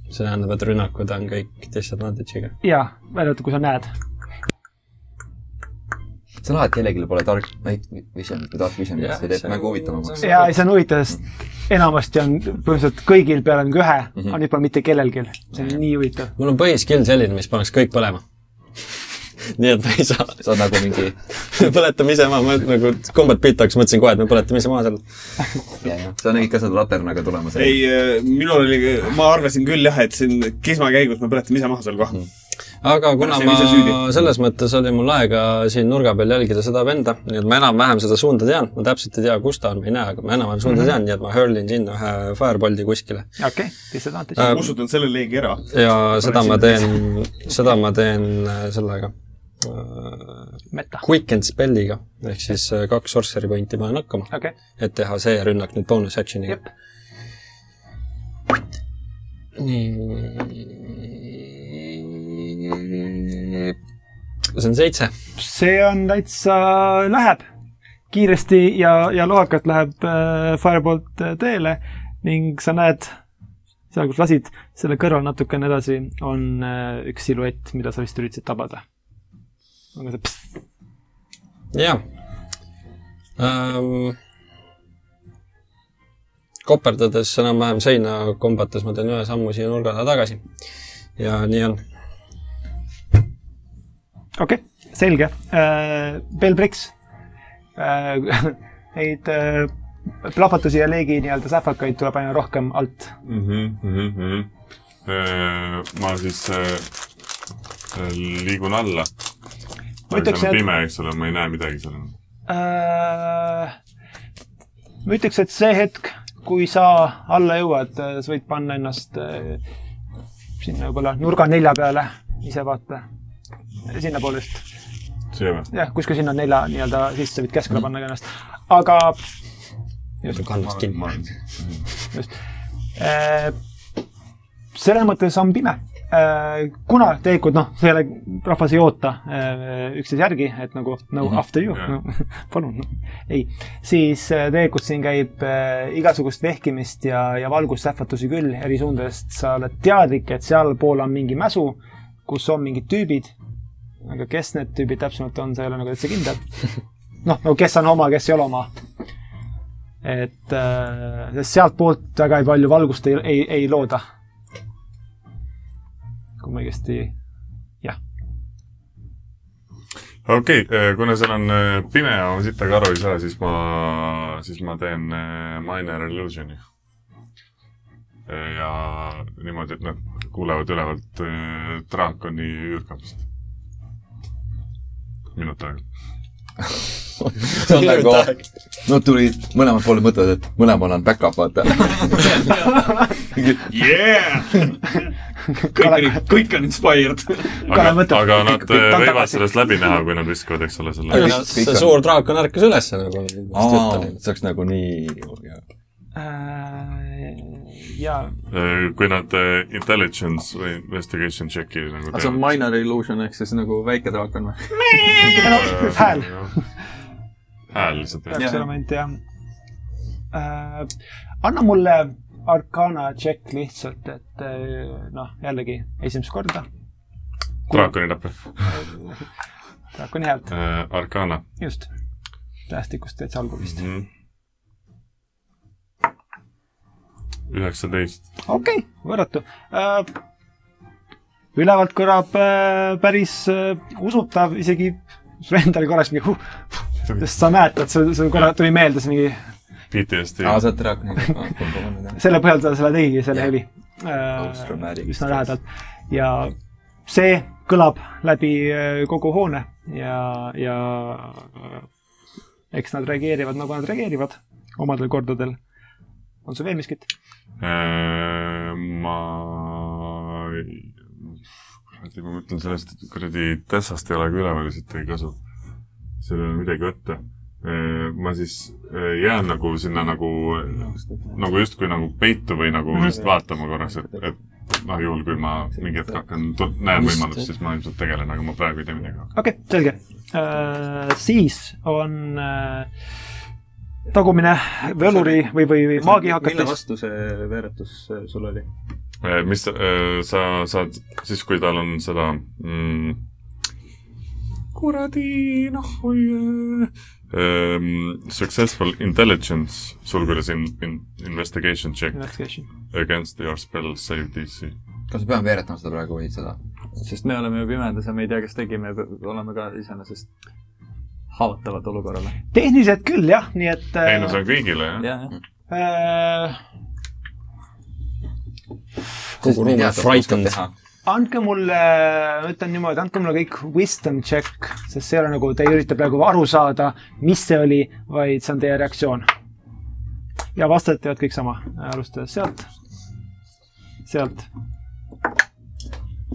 see tähendab , et rünnakud on kõik disadvantage'iga .
ja , välja arvatud , kui sa näed .
see on alati kellelgi pole tark , ei , vision , või tark vision ,
Jah,
see teeb
see-
mängu huvitavamaks .
ja ei , see on huvitav , sest enamasti on põhimõtteliselt kõigil peale mingi ühe mm , -hmm. aga nüüd pole mitte kellelgi . see on nii huvitav .
mul on põhiskill selline , mis paneks kõik põlema . nii et ma ei saa ,
sa oled nagu mingi ,
põletame ise maha , ma nagu kombat beat hakkas , mõtlesin kohe , et me põletame ise maha seal .
sa nägid ka seda laternaga tulemas .
ei , minul oli , ma arvasin küll jah , et siin kisma käigus me põletame ise maha seal kohe .
aga kuna
Pärast jäime
ma
ise süüdi.
selles mõttes oli mul aega siin nurga peal jälgida seda venda , nii et ma enam-vähem seda suunda tean , ma täpselt ei tea , kus ta on , ma ei näe , aga ma enam-vähem suunda tean , nii et ma hurlin sinna ühe firebolti kuskile .
okei okay. , disadvantage
Äh,
uh, .
kustutan selle leegi ära .
ja seda ma teen , seda ma teen äh, sellega äh,
meta ,
Quickend spelliga , ehk siis äh, kaks sorcery pointi panen hakkama ,
okei okay. ,
et teha see rünnak nüüd bonus action'iga
jep .
nii . see on seitse .
see on täitsa , läheb kiiresti ja , ja lohakalt läheb äh, Firebolt äh, teele ning sa näed seal , kus lasid , selle kõrval natukene edasi on äh, üks siluett , mida sa vist üritasid tabada . aga see pss,
jah ähm, . koperdades enam-vähem seina kombates ma teen ühe sammu siia nurga taha tagasi . ja nii on .
okei okay, , selge äh, . Belbrix äh, , neid äh, plahvatusi ja leegi nii-öelda sähvakaid tuleb aina rohkem alt .
Mhm, ma siis äh, äh, liigun alla .
Ma ütleks,
on
et-
pime , eks ole , ma ei näe midagi seal .
Äh, ma ütleks , et see hetk , kui sa alla jõuad , sa võid panna ennast äh, sinna võib-olla nurga nelja peale , ise vaata , sinnapoole vist ,
siia või ?
jah , kuskil sinna nelja nii-öelda sisse võid keskele panna ka ennast , aga
just kannast kinni .
ma olen
just äh, , selles mõttes on pime äh, . kuna tegelikult noh , see ei ole , rahvas ei oota äh, üksteise järgi , et nagu no after you
Jah.
no, , palun no. , ei , siis äh, tegelikult siin käib äh, igasugust vehkimist ja , ja valgussähvatusi küll eri suundadest , sa oled teadlik , et sealpool on mingi mäsu , kus on mingid tüübid , aga kes need tüübid täpsemalt on , sa ei ole nagu täitsa kindel . noh , no kes on oma , kes ei ole oma . et äh, sest sealtpoolt väga ei palju valgust ei, ei , ei looda . kui ma õigesti , jah ,
okei okay, , kuna seal on äh, pime ja ma siit aga aru ei saa , siis ma , siis ma teen äh, minor illusion'i . ja niimoodi , et nad kuulevad ülevalt äh, draakoni hürgamist . minut aega .
see on nagu , no tuli , mõlemad pooled mõtlevad , et mõlemal on back-up , vaata .
Yeah! kõik on , kõik on inspired .
Kalev
aga ,
mõtleb,
aga
kõik-
nad
kõik- kõik
äh,
on
võivad
tagasi.
sellest läbi näha , kui nad viskavad , eks ole , selle .
Aga-
see suur draakon ärkas ülesse nagu .
see oleks nagu nii .
äh, ja
kui nad äh, intelligence või investigation check'i nagu
aga see on minor illusion ehk siis nagu väike draakon või ?
hääl. .
hääl lihtsalt , jah .
peaks olema ainult jah äh, . anna mulle Arcana check lihtsalt , et äh, noh , jällegi esimest korda ,
draakoni näppe .
hakkan head ,
Eh, Arkana
just . tähestikust täitsa algul vist .
Mm. üheksateist .
okei okay, , võrratu äh, . ülevalt kõlab äh, päris äh, usutav , isegi Rendel korraks mingi huh, , sest sa mäletad , sul , sul korra tuli meelde see mingi ,
PTSD .
aa , sa oled rääkinud .
selle põhjal ta selle tegigi , selle heli
Aus
äh, .
traumatic
üsna
stress.
lähedalt ja see kõlab läbi äh, kogu hoone ja , ja äh, eks nad reageerivad , nagu nad reageerivad omadel kordadel . on sul veel miskit ?
Äh, ma , kuradi , ma mõtlen sellest kuradi tessast ei ole ka üleval , siit ei kasu . seal ei ole midagi võtta . ma siis äh, jään nagu sinna nagu , nagu justkui nagu peitu või nagu lihtsalt vaatama korraks , et , et noh , juhul kui ma mingi hetk hakkan , näen võimalust , siis ma ilmselt tegelen , aga ma praegu ei tee midagi .
okei okay, , selge äh, . siis on äh, tagumine võluri või , või , või
mille
maagihakates .
vastu see veeretus äh, sul oli ?
Eh, mis eh, sa saad siis , kui tal on seda mm, kuradi noh, nahhu um, Successful intelligence sulgudes in, in, investigation check against your spell save DC .
kas me peame veeretama seda praegu või seda ?
sest me oleme ju pimedas ja me ei tea , kes tegi , me pe- oleme ka iseenesest haavatavad olukorrale .
tehniliselt küll jah , nii et
ei no see on kõigile jah .
jah , jah .
äh,
kogu ruum on frightened .
andke mulle , ma ütlen niimoodi , andke mulle kõik wisdom check , sest see ei ole nagu , te ei ürita praegu aru saada , mis see oli , vaid see on teie reaktsioon . ja vastajad teevad kõik sama , alustades sealt , sealt ,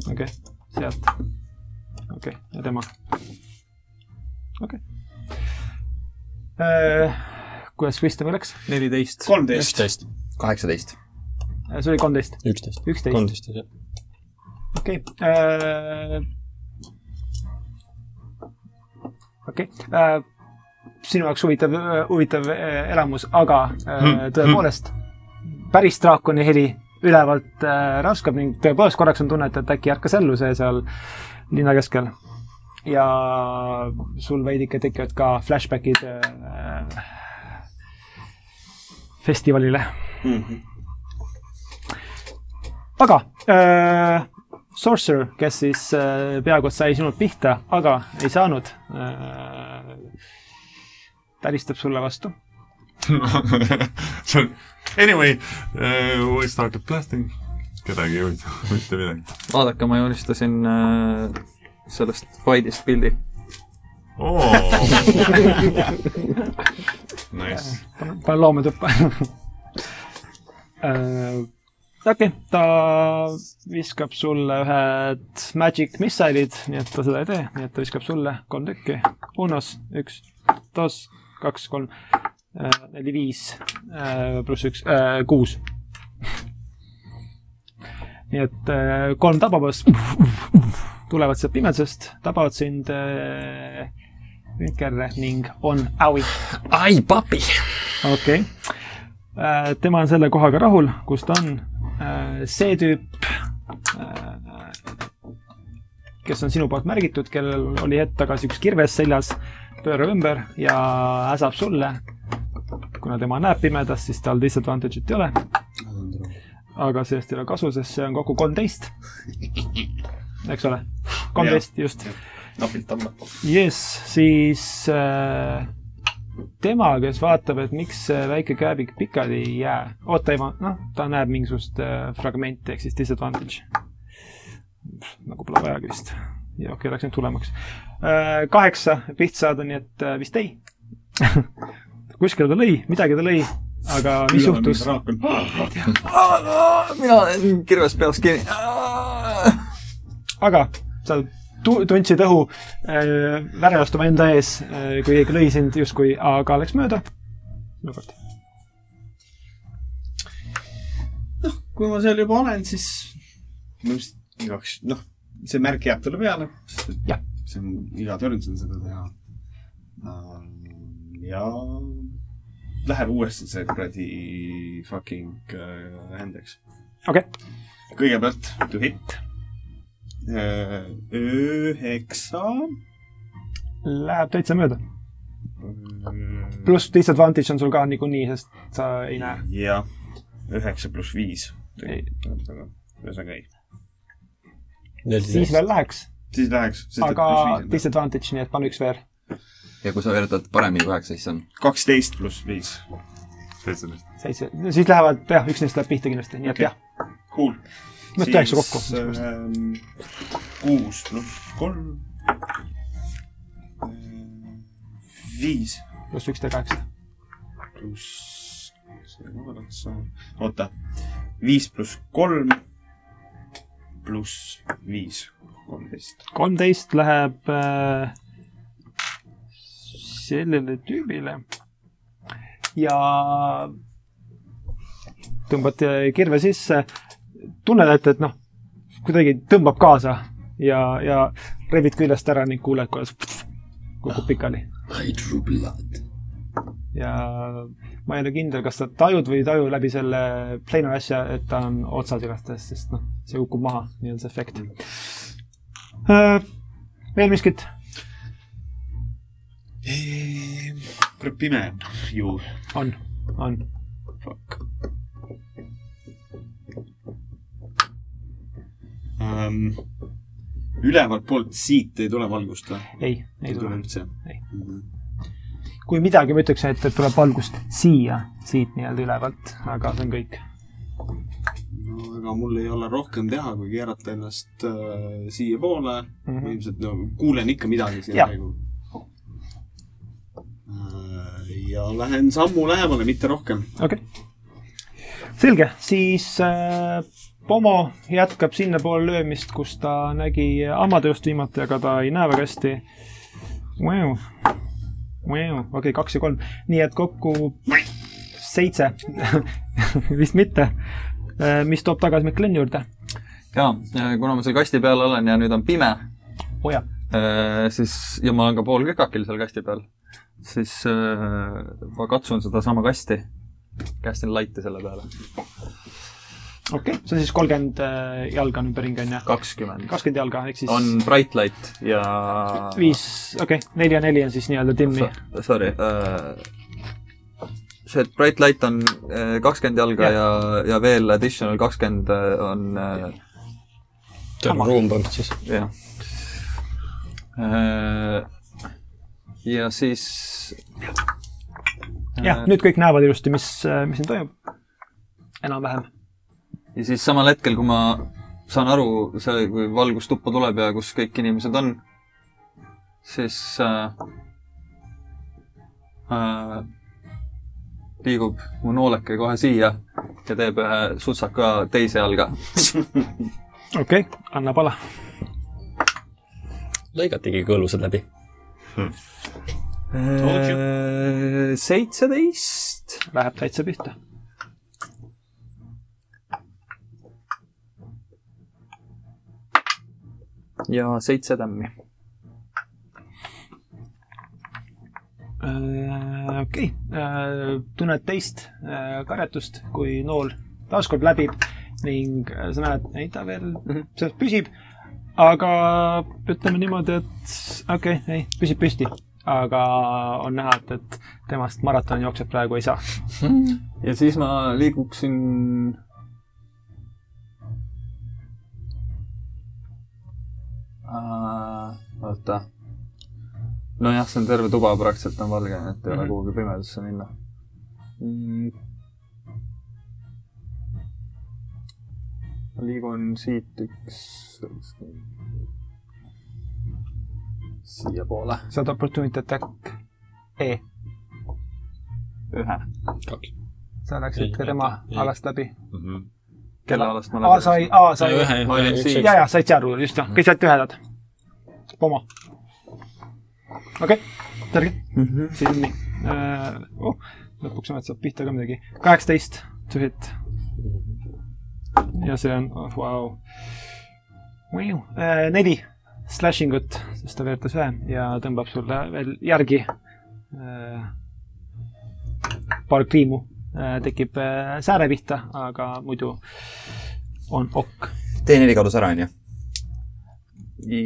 okei okay. , sealt , okei okay. , ja tema , okei okay. . kuidas Äh, wisdom'i läks ?
neliteist .
kolmteist .
üksteist ,
kaheksateist .
see oli kolmteist ,
üksteist ,
üksteist .
kolmteist , jah .
okei äh, okay. . okei okay. , sinu jaoks huvitav , huvitav äh, elamus , aga äh, tõepoolest päris draakoni heli ülevalt äh, räuskab ning tõepoolest korraks on tunnet , et äkki ärkas ellu see seal linna keskel . ja sul veidike tekivad ka flashbackid äh, festivalile aga äh, Sorcerer , kes siis äh, peaaegu et sai sinult pihta , aga ei saanud äh, , täristab sulle vastu .
see on , anyway uh, , we started blasting . kedagi ei huvita mitte midagi .
vaadake , ma joonistasin äh, sellest faidist pildi .
oo . Nice .
pane loome tuppa äh, . okei okay, , ta viskab sulle ühed magic missile'id , nii et ta seda ei tee , nii et ta viskab sulle kolm tükki . Unos , üks , dos , kaks , kolm äh, , neli , viis äh, pluss üks äh, , kuus . nii et äh, kolm tabamast tulevad sealt pimedusest , tabavad sind äh, vinkerre ning on out .
ai , papi .
okei okay. . tema on selle kohaga rahul , kus ta on . see tüüp , kes on sinu poolt märgitud , kellel oli hetk tagasi üks kirves seljas , pöörab ümber ja äsab sulle . kuna tema näeb pimedas , siis tal disadvantage'it ei ole . aga sellest ei ole kasu , sest see on kokku kolmteist . eks ole , kolmteist just .
napilt tõmbab .
jess , siis äh, tema , kes vaatab , et miks see väike kääbik pikali ei jää . oota , ei ma , noh , ta näeb mingisugust äh, fragmenti ehk siis disadvantage . nagu pole vajagi vist . ja okei okay, , läks nüüd tulemaks äh, . kaheksa pihta saada , nii et äh, vist ei . kuskile ta lõi , midagi ta lõi , aga mis juhtus ?
mina olen kirves peas kinni .
aga sa tu- tundsid õhu äh, värelast oma enda ees äh, , kui keegi lõi sind justkui , aga läks mööda . sinu kord .
kui ma seal juba olen , siis ma vist igaks , noh , see märk jääb talle peale , sest et
Jah.
see on , iga törn saan seda teha . ja läheb uuesti see kuradi fucking äh, händeks .
Okei. .
kõigepealt to hit . Äh, üheksa
Läheb täitsa mööda . pluss disadvantage on sul ka niikuinii , sest sa ei näe .
jah , üheksa pluss viis .
Ei.
ühesõnaga ei .
siis veel läheks ,
siis läheks , sest et
aga
pluss viis on
disadvantage , nii et pane üks veel .
ja kui sa veeretad paremini kui üheksa , siis on
kaksteist pluss viis .
seitseteist .
seitse , siis lähevad , jah , üks neist läheb pihta kindlasti , nii et okay.
Okei.
jah ,
Cool .
Noh, üheksa kokku.
kuus pluss kolm . viis
pluss üksteist kaheksa .
pluss , oota , viis pluss kolm pluss viis , kolmteist .
kolmteist läheb äh, sellele tüübile ja tõmbate kirve sisse . tunned , et , et noh , kuidagi tõmbab kaasa ja , ja rebid küljest ära ning kuuled , kuidas kukub pikali . ja ma ei ole kindel , kas sa tajud või ei taju läbi selle planar asja , et ta on otsas igastahes , sest noh , see kukub maha , nii on see efekt . veel miskit ?
kurat , pime on ju .
on , on .
Fuck um, . ülevalt poolt siit ei tule valgust või ?
ei , ei tule .
üldse
Ei. . kui midagi , ma ütleks , et et tuleb valgust siia , siit nii-öelda ülevalt , aga see on kõik .
no ega mul ei ole rohkem teha , kui keerata ennast äh, siiapoole mm .
Mhm.
-hmm. ilmselt no, kuulen ikka midagi siin
Jah.
praegu . ja lähen sammu lähemale , mitte rohkem .
okei okay. . selge , siis äh, Pomo jätkab sinnapoole löömist , kus ta nägi Amadeust viimati , aga ta ei näe väga hästi . okei , kaks ja kolm , nii et kokku seitse vist mitte , mis toob tagasi McLeni juurde .
jaa , kuna ma seal kasti peal olen ja nüüd on pime ,
hoia ,
siis ja ma olen ka pool kökakil seal kasti peal , siis äh, ma katsun sedasama kasti , kästin laite selle peale .
okei okay. , see on siis kolmkümmend äh, jalga on ümberringi , on ju ?
kakskümmend .
kakskümmend jalga , ehk siis
on bright light ja
viis , okei okay, , neli ja neli on siis nii-öelda timmi .
So, Äh, sorry uh, , see bright light on äh, kakskümmend jalga ja , ja veel additional kakskümmend on uh,
terve ruum põhimõtteliselt siis .
jah . ja siis
jah , nüüd kõik näevad ilusti , mis , mis siin toimub . enam-vähem .
ja siis samal hetkel , kui ma saan aru , see , kui valgus tuppa tuleb ja kus kõik inimesed on , siis äh, äh, liigub mu nooleke kohe siia ja teeb ühe sutsaka teise jalga .
okei okay, , anna pala .
lõigatigi kõõlused läbi .
Äh, seitseteist .
Läheb täitsa pihta .
ja seitse tämmi .
Äh, okei , tunned teist äh, karjatust , kui nool taaskord läbib ning äh, sa näed , ei ta veel selles püsib , aga ütleme niimoodi , et okei okay, , ei , püsib püsti , aga on näha , et , et temast maratonijooksjat praegu ei saa .
ja siis ma liiguksin . Äh, oota . nojah , see on terve tuba praktiliselt on valge , et ei ole kuhugi pimedusse minna mm. . ma liigun siit üks , üks , siiapoole .
saad opportunity attack E .
ühe .
sa läksid ka
Ei,
tema
ei.
alast läbi .
kelle alast ma
A sai , A sai
sai , ühe
ma olin , siin.
ja , ja said seal juures , just jah , kõik said ühedad . Pomo . okei okay. , selge mm . -hmm. siis on nii uh, . Oh, lõpuks ometi saab pihta ka midagi . kaheksateist , to hit . ja see on , oh, vau . Äh, neli slashing ut , sest ta veeretas ühe ja tõmbab sulle veel järgi uh, . paar kriimu uh, tekib uh, sääre pihta , aga muidu on okk .
T4 kadus ära , onju .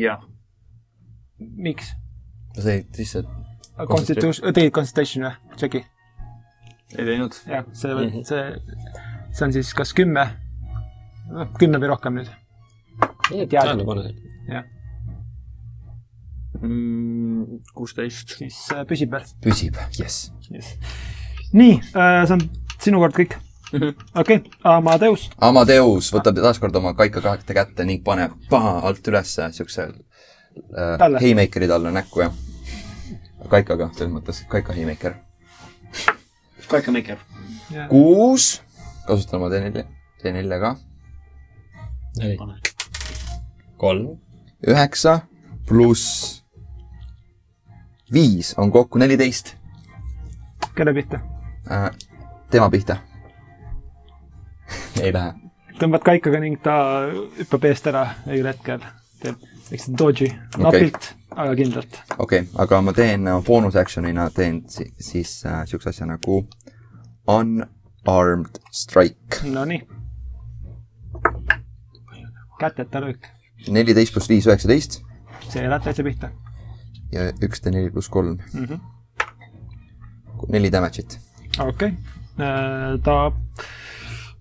jah .
miks ?
sa said sisse
Constitution , tegid Äh, Constitution või ? Tšeki .
ei teinud .
jah , see , see , see on siis kas kümme , noh , kümme või rohkem nüüd .
tähelepanelik .
kuusteist .
siis äh, püsib veel .
püsib , jess .
nii , see on sinu kord kõik . okei , Amadeus .
Amadeus võtab taaskord oma kaika kahekte kätte ning paneb paha alt ülesse siukse äh,
Talle.
heimeikeri talle näkku ja kaikaga selles mõttes , kaika heimeiker .
Kaika Meiker .
kuus , kasutan oma T4 , T4 ka ,
neli . kolm .
üheksa pluss viis on kokku neliteist
kelle pihta ?
äh, tema pihta . ei lähe ,
tõmbad kaikaga ning ta hüppab eest ära õigel hetkel . teeb väikse dodge'i , napilt , aga kindlalt .
okei okay, , aga ma teen äh, boonus action'ina teen si siis äh, siukse asja nagu unarmed strike .
Nonii . käteta löök ,
neliteist pluss viis , üheksateist
see läheb täitsa pihta .
ja üks T4 pluss kolm mm .
Mhm.
-hmm. neli damage'it .
okei okay. , ta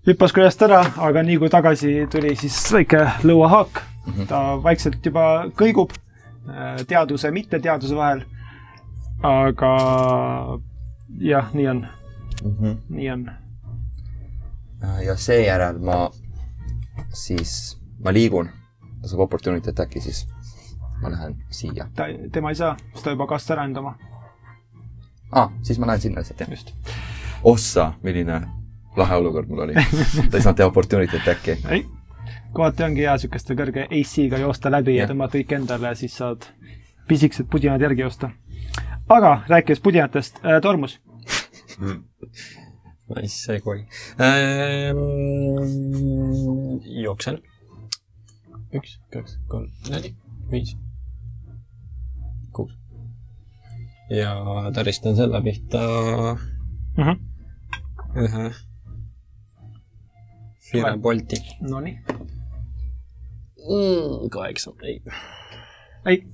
hüppas küljest ära , aga nii kui tagasi tuli , siis väike lõuahaak mm . -hmm. ta vaikselt juba kõigub äh, teaduse , mitteteaduse vahel . aga jah , nii on ,
Mm -hmm.
nii on .
Äh, ja seejärel ma siis , ma liigun , ta saab opportunity attack'i siis . ma lähen siia
ta , tema ei saa , sest ta juba kastas ära enda oma .
ah, , siis ma lähen sinna lihtsalt jah .
just .
ossa , milline lahe olukord mul oli . ta ei saanud teha opportunity attack'i .
ei , kohati ongi hea sihukeste kõrge AC-ga joosta läbi ja, ja
Jah.
tõmmata kõik endale , siis saad pisikesed pudinad järgi joosta . aga rääkides pudinatest äh, , tormus .
Nice segway ähm, . Ehm, jooksen . üks , kaks , kolm , neli , viis , kuus . ja täristan selle pihta
Mm -hmm.
ühe firepolti
Nonii ,
mm, . kaheksa , ei .
ei , ei,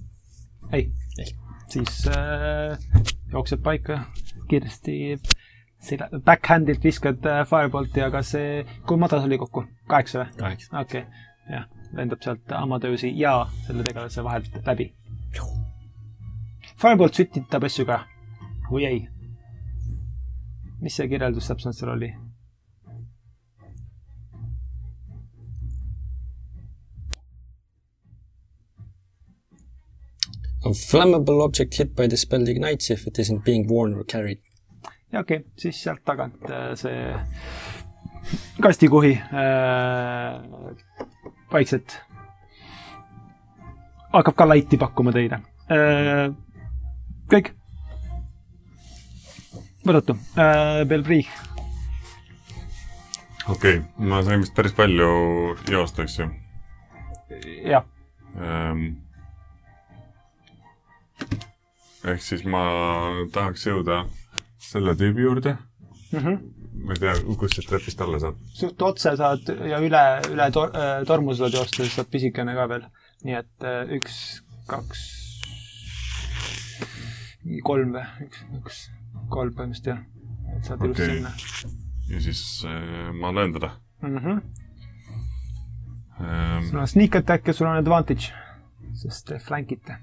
ei.
Ei. ,
siis äh, jookseb paika kiiresti selle backhand'ilt viskad äh, firebolti , aga see , kui madal see oli kokku , kaheksa või ?
kaheksa .
okei okay. , jah , lendab sealt Amadeusi ja selle tegelase vahelt läbi . Firebolt sütitab asju ka või ei ? mis see kirjeldus täpselt seal oli ?
A flammable object hit by the spell ignites if it isn't being worn or carried .
ja okei okay, , siis sealt tagant äh, see kastikuhi äh, vaikselt hakkab ka laiti pakkuma teile äh, . kõik . võtatu äh, , Belbrich ,
okei , ma sain vist päris palju joosta , eks ju
jah ,
ähm, . ehk siis ma tahaks jõuda selle tüübi juurde mm .
Mhm.
ma ei tea , kust sealt trepist alla saab .
suht otse saad ja üle , üle tor äh, tormusele teostades saad pisikene ka veel , nii et äh, üks , kaks , kolm või , üks , üks , kolm põhimõtteliselt jah , et saad ilusti
Okei.
okay. sinna
ja siis äh, ma löön teda
mm . -hmm.
ähm,
sul on sneak attack ja sul on advantage , sest te flankite .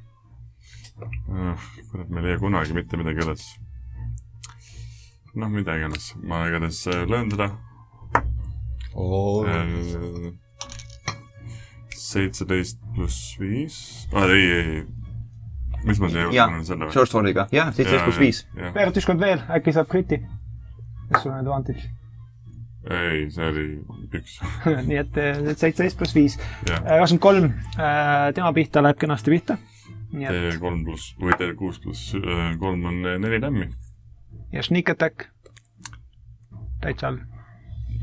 Äh, kurat , me ei leia kunagi mitte midagi üles . noh , mida iganes , ma igatahes äh, löön teda Äh, seitseteist pluss viis , ei , ei , ei , mis ma siia
Jaa,
juurde panen selle
short sword'iga , jah , seitseteist pluss viis ..
veerand ükskord veel , äkki saab kriti . kas sul on advantage ?
ei , see oli üks ,
nii et eh, seitseteist pluss viis ,
Äh,
jah ,
kakskümmend kolm , tema pihta läheb kenasti pihta . nii et
kolm pluss või teil kuus pluss äh, kolm on äh, neli tämmi
ja sneak attack täitsa all .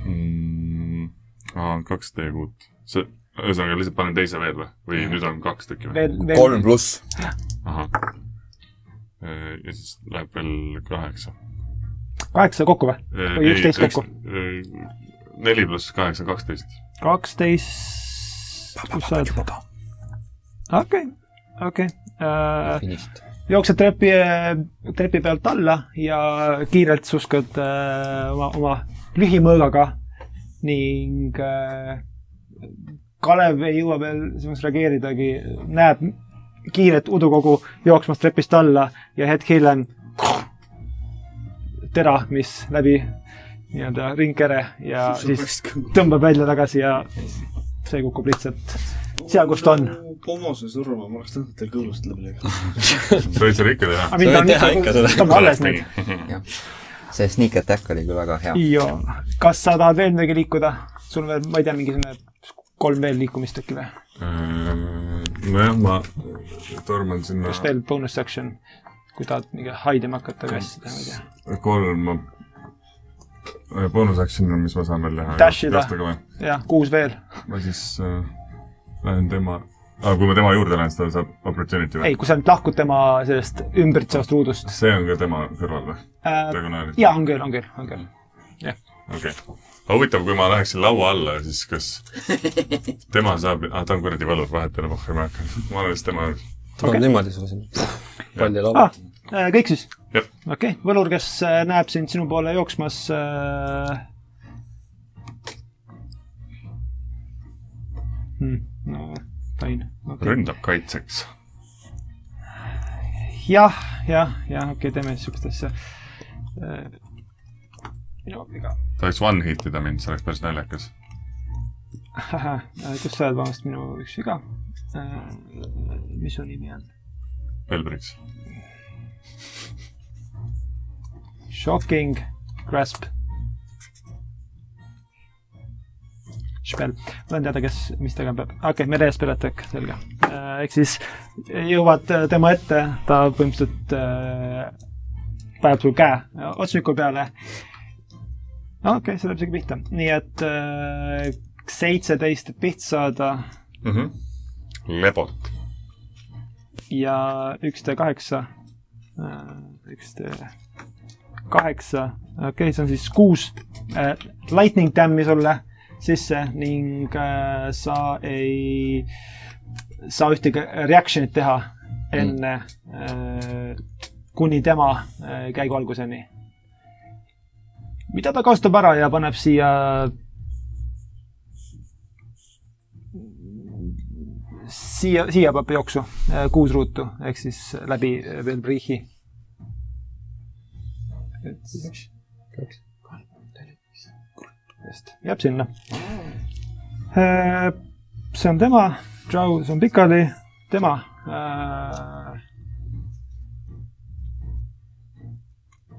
mm, . kaks teie kuut , see , ühesõnaga lihtsalt panen teise veel või , või nüüd on kaks tükki või ?
veel , veel
kolm pluss ,
ahah . ja siis läheb veel kaheksa . Äh,
kaheksa kokku või ? või üksteist kokku ??
neli pluss kaheksa , kaksteist .
kaksteist , kus sa oled ? okei , okei .
finišt .
jooksed trepi , trepi pealt alla ja kiirelt suskad äh, oma , oma lühimõõgaga ning äh, Kalev ei jõua veel selleks reageeridagi , näeb kiiret udukogu jooksmas trepist alla ja hetk hiljem tera , mis läbi nii-öelda ringkere ja siis tõmbab välja tagasi ja see kukub lihtsalt seal , kus ta on .
pomose surma , ma oleks tahtnud teil kõõlust läbi lüüa .
sa võid seda ikka teha .
aga mind
võid
on
teha ikka seda.
ikka , ta on alles nüüd .
see sneak attack oli küll väga hea .
jaa , kas sa tahad veel midagi liikuda ? sul on veel , ma ei tea , mingisugune kolm veel liikumist äkki või ?
Äh, nojah , ma torman sinna
kas veel bonus action , kui tahad mingi haidema hakata või asju teha , ma ei tea .
kolm ma... äh, bonus action'i , mis ma saan veel teha .
Dashida.
või ?
jah , kuus veel .
ma siis äh, lähen tema ah, , kui ma tema juurde lähen , siis ta saab opportunity või
ei ,? kui sa nüüd lahkud tema sellest ümbritsevast ruudust .
see on ka tema kõrval või ? Diagonaalis.
jaa , on küll , on küll , on küll .
okei okay. . aga huvitav , kui ma läheksin laua alla , siis kas tema saab , ah ta on kuradi valur vahepeal , oh ei mäleta . ma olen vist tema juures .
tuleb niimoodi sulle sinna . palli laua
Ah, . äh, kõik siis ?
Jah.
okei okay. , võlur , kes äh, näeb sind sinu poole jooksmas äh... . Hmm, no , tain okay. .
ründab kaitseks .
jah , jah , jah , okei okay, , teeme siis siukest asja . minu viga .
ta võiks one hit ida mind , see oleks päris naljakas .
äh, kus sa oled , vabandust , minu üks viga . mis su nimi on ?
Velbriks .
Shocking Grasp . Spell , ma tahan teada , kes , mis tegema peab , okei okay, , mere speletek , selge . ehk siis jõuad äh, tema ette , ta põhimõtteliselt äh, paneb sul käe äh, otsiku peale . okei okay, , see läheb isegi pihta , nii et äh, seitseteist , et pihta saada
Mhm. Lebot .
ja üks D kaheksa , üks D kaheksa , okei okay, , see on siis kuus äh, lightning damme'i sulle sisse ning äh, sa ei saa ühtegi reaction'it teha enne äh, kuni tema äh, käigu alguseni . mida ta kasutab ära ja paneb siia siia , siia peab jooksu , kuus ruutu ehk siis läbi äh, Belbrichi . just , jääb sinna . Äh, see on tema , Jaws on pikali , tema . Äh,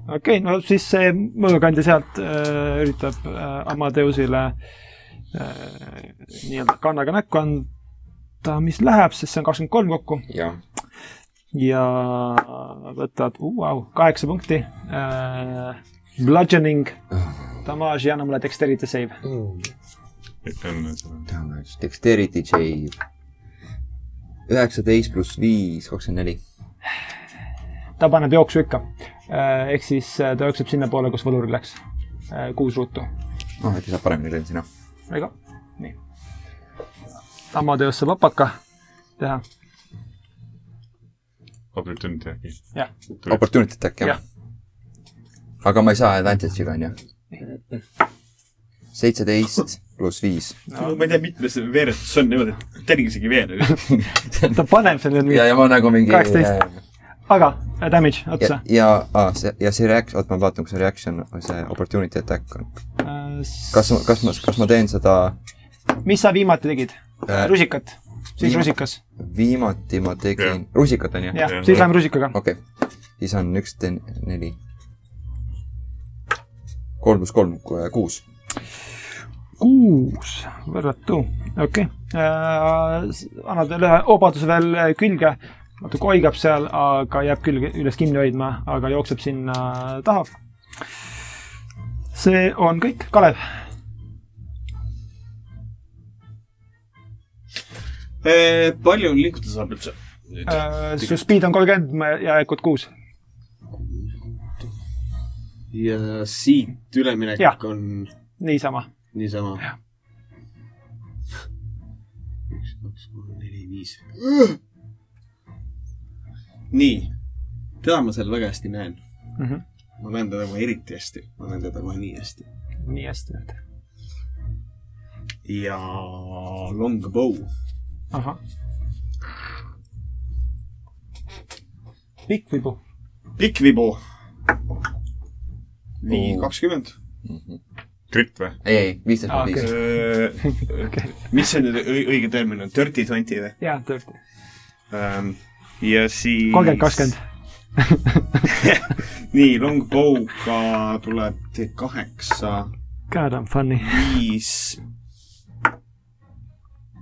okei , no siis see mõõgakandja sealt äh, üritab äh, Amadeusile äh, nii-öelda kannaga näkku anda , mis läheb , sest see on kakskümmend kolm kokku
jah ,
ja võtad , vau , kaheksa punkti äh, . Bludgeoning , damage ja anna mulle dexterity save .
enne seda .
damage , dexterity save . üheksateist pluss viis , kakskümmend neli .
ta paneb jooksu ikka äh, . ehk siis äh, ta jookseb sinnapoole , kus võlur läks äh, . kuus ruutu .
noh , äkki saab paremini lööma sina .
ega , nii . Amadeus saab vapaka teha ,
Opportunity äkki .
jah .
Opportunity attack , jah
Jah. ?
aga ma ei saa advantage'iga , on ju ? seitseteist pluss viis .
ma ei tea , mitmes veeretus see on niimoodi , et telling isegi ei veere .
ta paneb selle
ja ,
nüüd ,
ja ma nagu mingi .
18. aga äh, damage
ja
otsa ,.
ja , see , ja see reaction , oot , ma vaatan , kas see reaction , see opportunity attack on . kas , kas ma , kas ma teen seda ,
Äh, mis sa viimati tegid
Äh,
äh, ? rusikat , siis
viima-
rusikas ,
viimati ma tegin , rusikat on ju ?
jah
Jah. ,
siis läheme rusikaga .
okei okay. , siis on üks , neli . kolm pluss kolm , kuus .
kuus , võrratu , okei okay. . annad veel ühe obaduse veel äh, külge , natuke oigab seal , aga jääb külge üles kinni hoidma , aga jookseb sinna taha . see on kõik , Kalev ,
Äh, palju liikuda saab üldse ?
Äh, su speed on kolmkümmend ja jäkud kuus .
ja siit üleminek
Jah.
on
niisama ,
niisama
Jah. .
üks , kaks , kolm , neli , viis . nii ,
teda ma seal väga hästi näen .
mm . -hmm.
ma näen teda kohe eriti hästi , ma näen teda kohe nii hästi .
nii hästi , et
ja longbow .
ahah . pikk vibu .
pikk vibu . nii , kakskümmend .
kritt või ?
ei , ei , viisteist
Aa,
pluss viis .
Äh, mis see nüüd õi- õige termin on , dirty twenty või ?
jaa , tõesti .
ja siis .
kolmkümmend , kakskümmend ..
nii , longbow'ga tuleb kaheksa ,
God , I m funny .
viis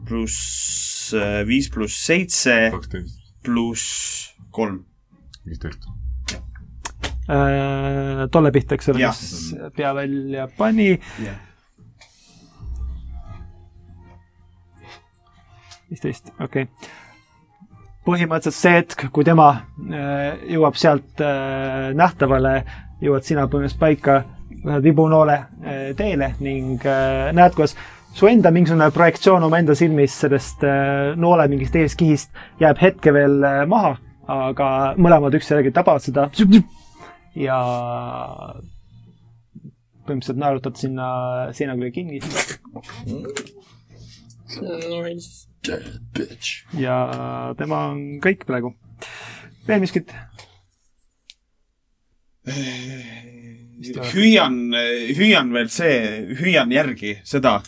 pluss , viis pluss seitse
kaksteist ,
pluss kolm .
viisteist .
Äh, tolle pihta , eks ole ,
Jah.
kes pea välja pani . viisteist , okei okay. . põhimõtteliselt see hetk , kui tema äh, jõuab sealt äh, nähtavale , jõuad sina põhimõtteliselt paika , lähed vibunoole äh, teele ning äh, näed , kuidas su enda mingisugune projektsioon omaenda silmis sellest äh, noole mingist eeskihist jääb hetke veel äh, maha , aga mõlemad üksteisega tabavad seda ja põhimõtteliselt naerutad sinna seina külge kinni ja äh, tema on kõik praegu . veel miskit ?
hüüan , hüüan veel see , hüüan järgi seda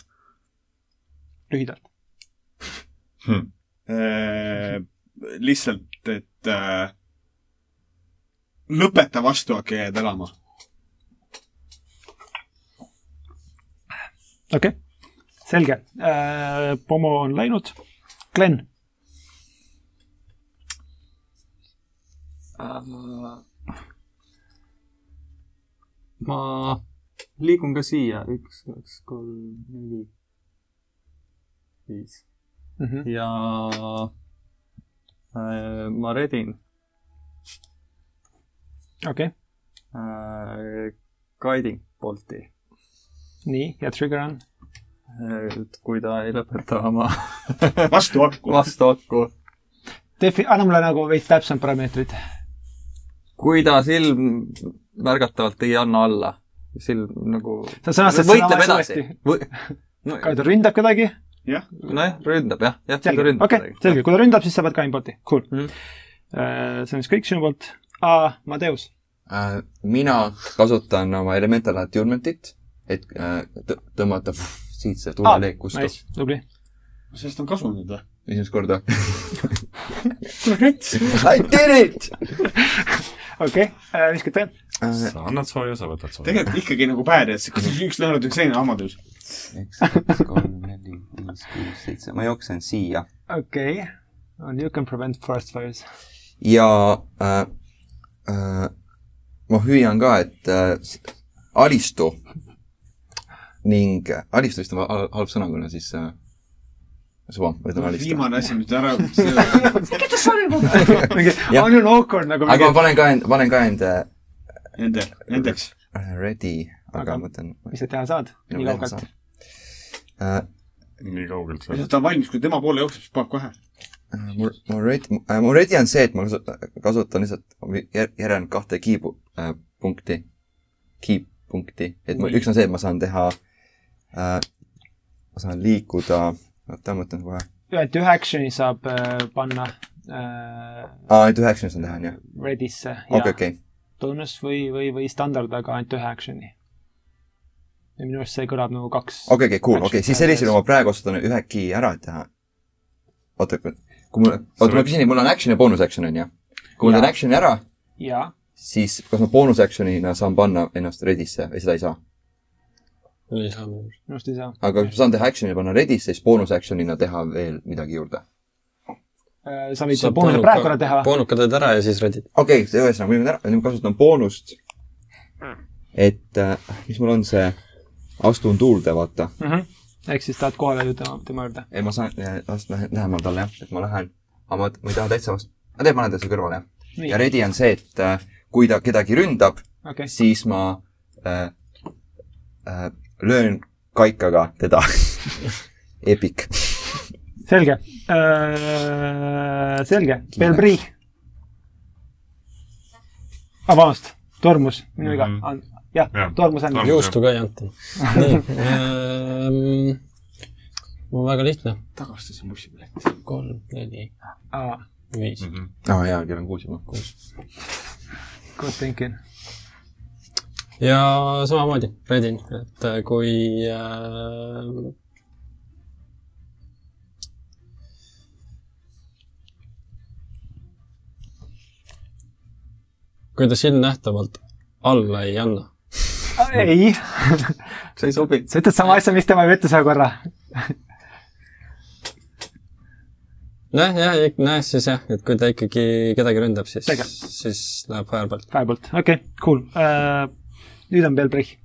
lühidalt .
Äh, lihtsalt , et äh, lõpeta vastuhakk ja jääd elama .
okei okay. , selge . Pomo on läinud . Glen ,
ma liigun ka siia , üks , kaks , kolm , neli , viis
mm .
Mhm.
-hmm.
ja äh, ma redin
okei okay. ,
äh, guiding bolti ,
nii ja trigger on .
et kui ta ei lõpeta oma
vastuhakku .
vastuakku .
Defi- , anna mulle nagu veits täpsemad parameetrid .
kui ta silm märgatavalt ei anna alla , silm nagu
sa sõnastad
võitleb edasi .
kui ta ründab kedagi ,
nojah , ründab jah , jah , ta
selge ,
ründab
okei okay, , selge , kui ta ründab , siis sa pead ka impoti , cool mm .
Mhm.
-hmm. see on siis kõik sinu poolt . aa , Mateus ,
Äh, mina kasutan oma Elemental Attunement'it , et äh, tõ- tõmmata pff, siit see tuleleek kustu nice.
Ah, nice , tubli .
sellest on kasu nüüd või ?
esimest korda . I did it
okei okay. , miskit veel ?
äh, .
sa annad sooja , sa võtad sooja .
tegelikult ikkagi nagu päädes , üks lõhnad , üks teine hammatus .
üks , kaks , kolm , neli , viis , kuus , seitse , ma jooksen siia
okei okay. . You can prevent forest fires .
ja äh, äh, ma hüüan ka , et äh, s- alistu ning äh, alistu vist on va- halb sõna , kuna siis äh, suva , ma ütlen alistu .
viimane asi , mis ta ära ,
Jah.
on ju awkward nagu .
aga ma panen ka end , panen ka end äh,
nende , nendeks .
ready , aga
Aga-
ma mõtlen
mis sa teha saad , nii kaugelt .
äh, .
nii kaugelt sa
ta . on valmis , kui tema poole jookseb , siis paneb kohe .
Äh, mul , mul ready , mu ready on see , et ma kasu- kasutan lihtsalt jär- järelejäänud kahte kiibu äh, punkti , kiip-punkti , et ma, üks on see , et ma saan teha äh, , ma saan liikuda , oota , ma mõtlen kohe .
ühelt ühe action'i saab äh, panna äh,
aa , ainult ühe action'i saan teha , on ju ?
Redisse ja
okei , okei .
tunnus või , või , või standard , aga ainult ühe action'i . ja minu arust see kõlab nagu kaks
okei , okei , cool , okei ,
Action
siis sellisel
standards.
juhul ma praegu otsustan ühe key ära teha . oota , kui mul , oota , ma küsin , mul on action ja bonus action , on ju ? kui ma teen
Jaa.
action'i ära ,
ja
siis kas ma bonus action'ina saan panna ennast ready'sse või seda ei saa ?
lisame .
minu arust ei saa
aga kas ma saan teha action'i panna ready'sse , siis boonus action'ina teha veel midagi juurde ?
äh, . sa võid selle boonuse praegu ära teha .
poonuka teed ära ja siis redid .
okei okay, , ühesõnaga , ma ära , nüüd ma kasutan boonust . et äh, mis mul on see , astun tuulde , vaata .
Mhm. ehk siis tahad kohale ju tema , tema juurde .
ei , ma saan , lähen lähemal talle jah , et ma lähen , aga ma , ma ei taha täitsa vastu , ma panen ta siia kõrvale jah .
nii
ja , ready on see , et äh, kui ta kedagi ründab ,
okei ,
siis ma äh, äh, löön kaikaga teda . Epic .
selge äh, . selge , Belbrii , ah, vabandust , tormus , minu viga mm -hmm. . jah
Mhm. Jah.
ja. , tormus on .
Torm-
juustu ka ei anta . nii . mul on väga lihtne .
tagastasin bussipilet .
kolm , neli ,
Ah,
viis .
Mhm.
aa jaa , kell on kuus juba .
good thinking .
ja samamoodi Redin , et äh, kui äh, kui ta silmnähtavalt alla ei anna ,
Ah, ei ,
see ei sobi .
sa ütled sama asja , mis tema juba ütles ühe korra .
nojah , jah , nojah , siis jah , et kui ta ikkagi kedagi ründab , siis
Tege. ,
siis läheb fireball .
Firebolt , okei okay, , cool uh, . nüüd on Belbrich .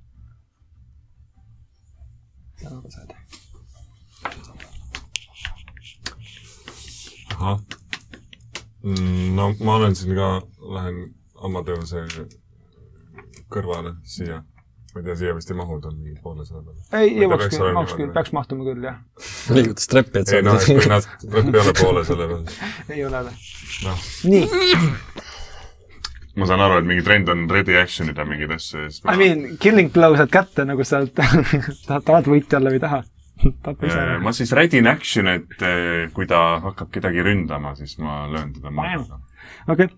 ahah . no ma olen siin ka , lähen Amadeuse kõrvale siia . ma ei tea , siia vist ei mahu , ta on mingi poole saja peal .
ei ,
Ma ei tea,
jõuaks
peaks
küll ,
olema
mahuks
niimoodi.
küll , peaks mahtuma küll , jah .
liigutas treppi , et
ei noh , et kui
saada .
nad , nad peale poole selle peal .
ei ole või ?
noh ,
nii ,
ma saan aru , et mingi trend on ready action ida mingeid asju ja siis
I mean , killing blow saad kätte nagu sa oled- tahad , tahad võitja olla või ei taha . tapa ise
Eh,
ära .
ma siis ready in action , et eh, kui ta hakkab kedagi ründama , siis ma löön teda maha .
okei ,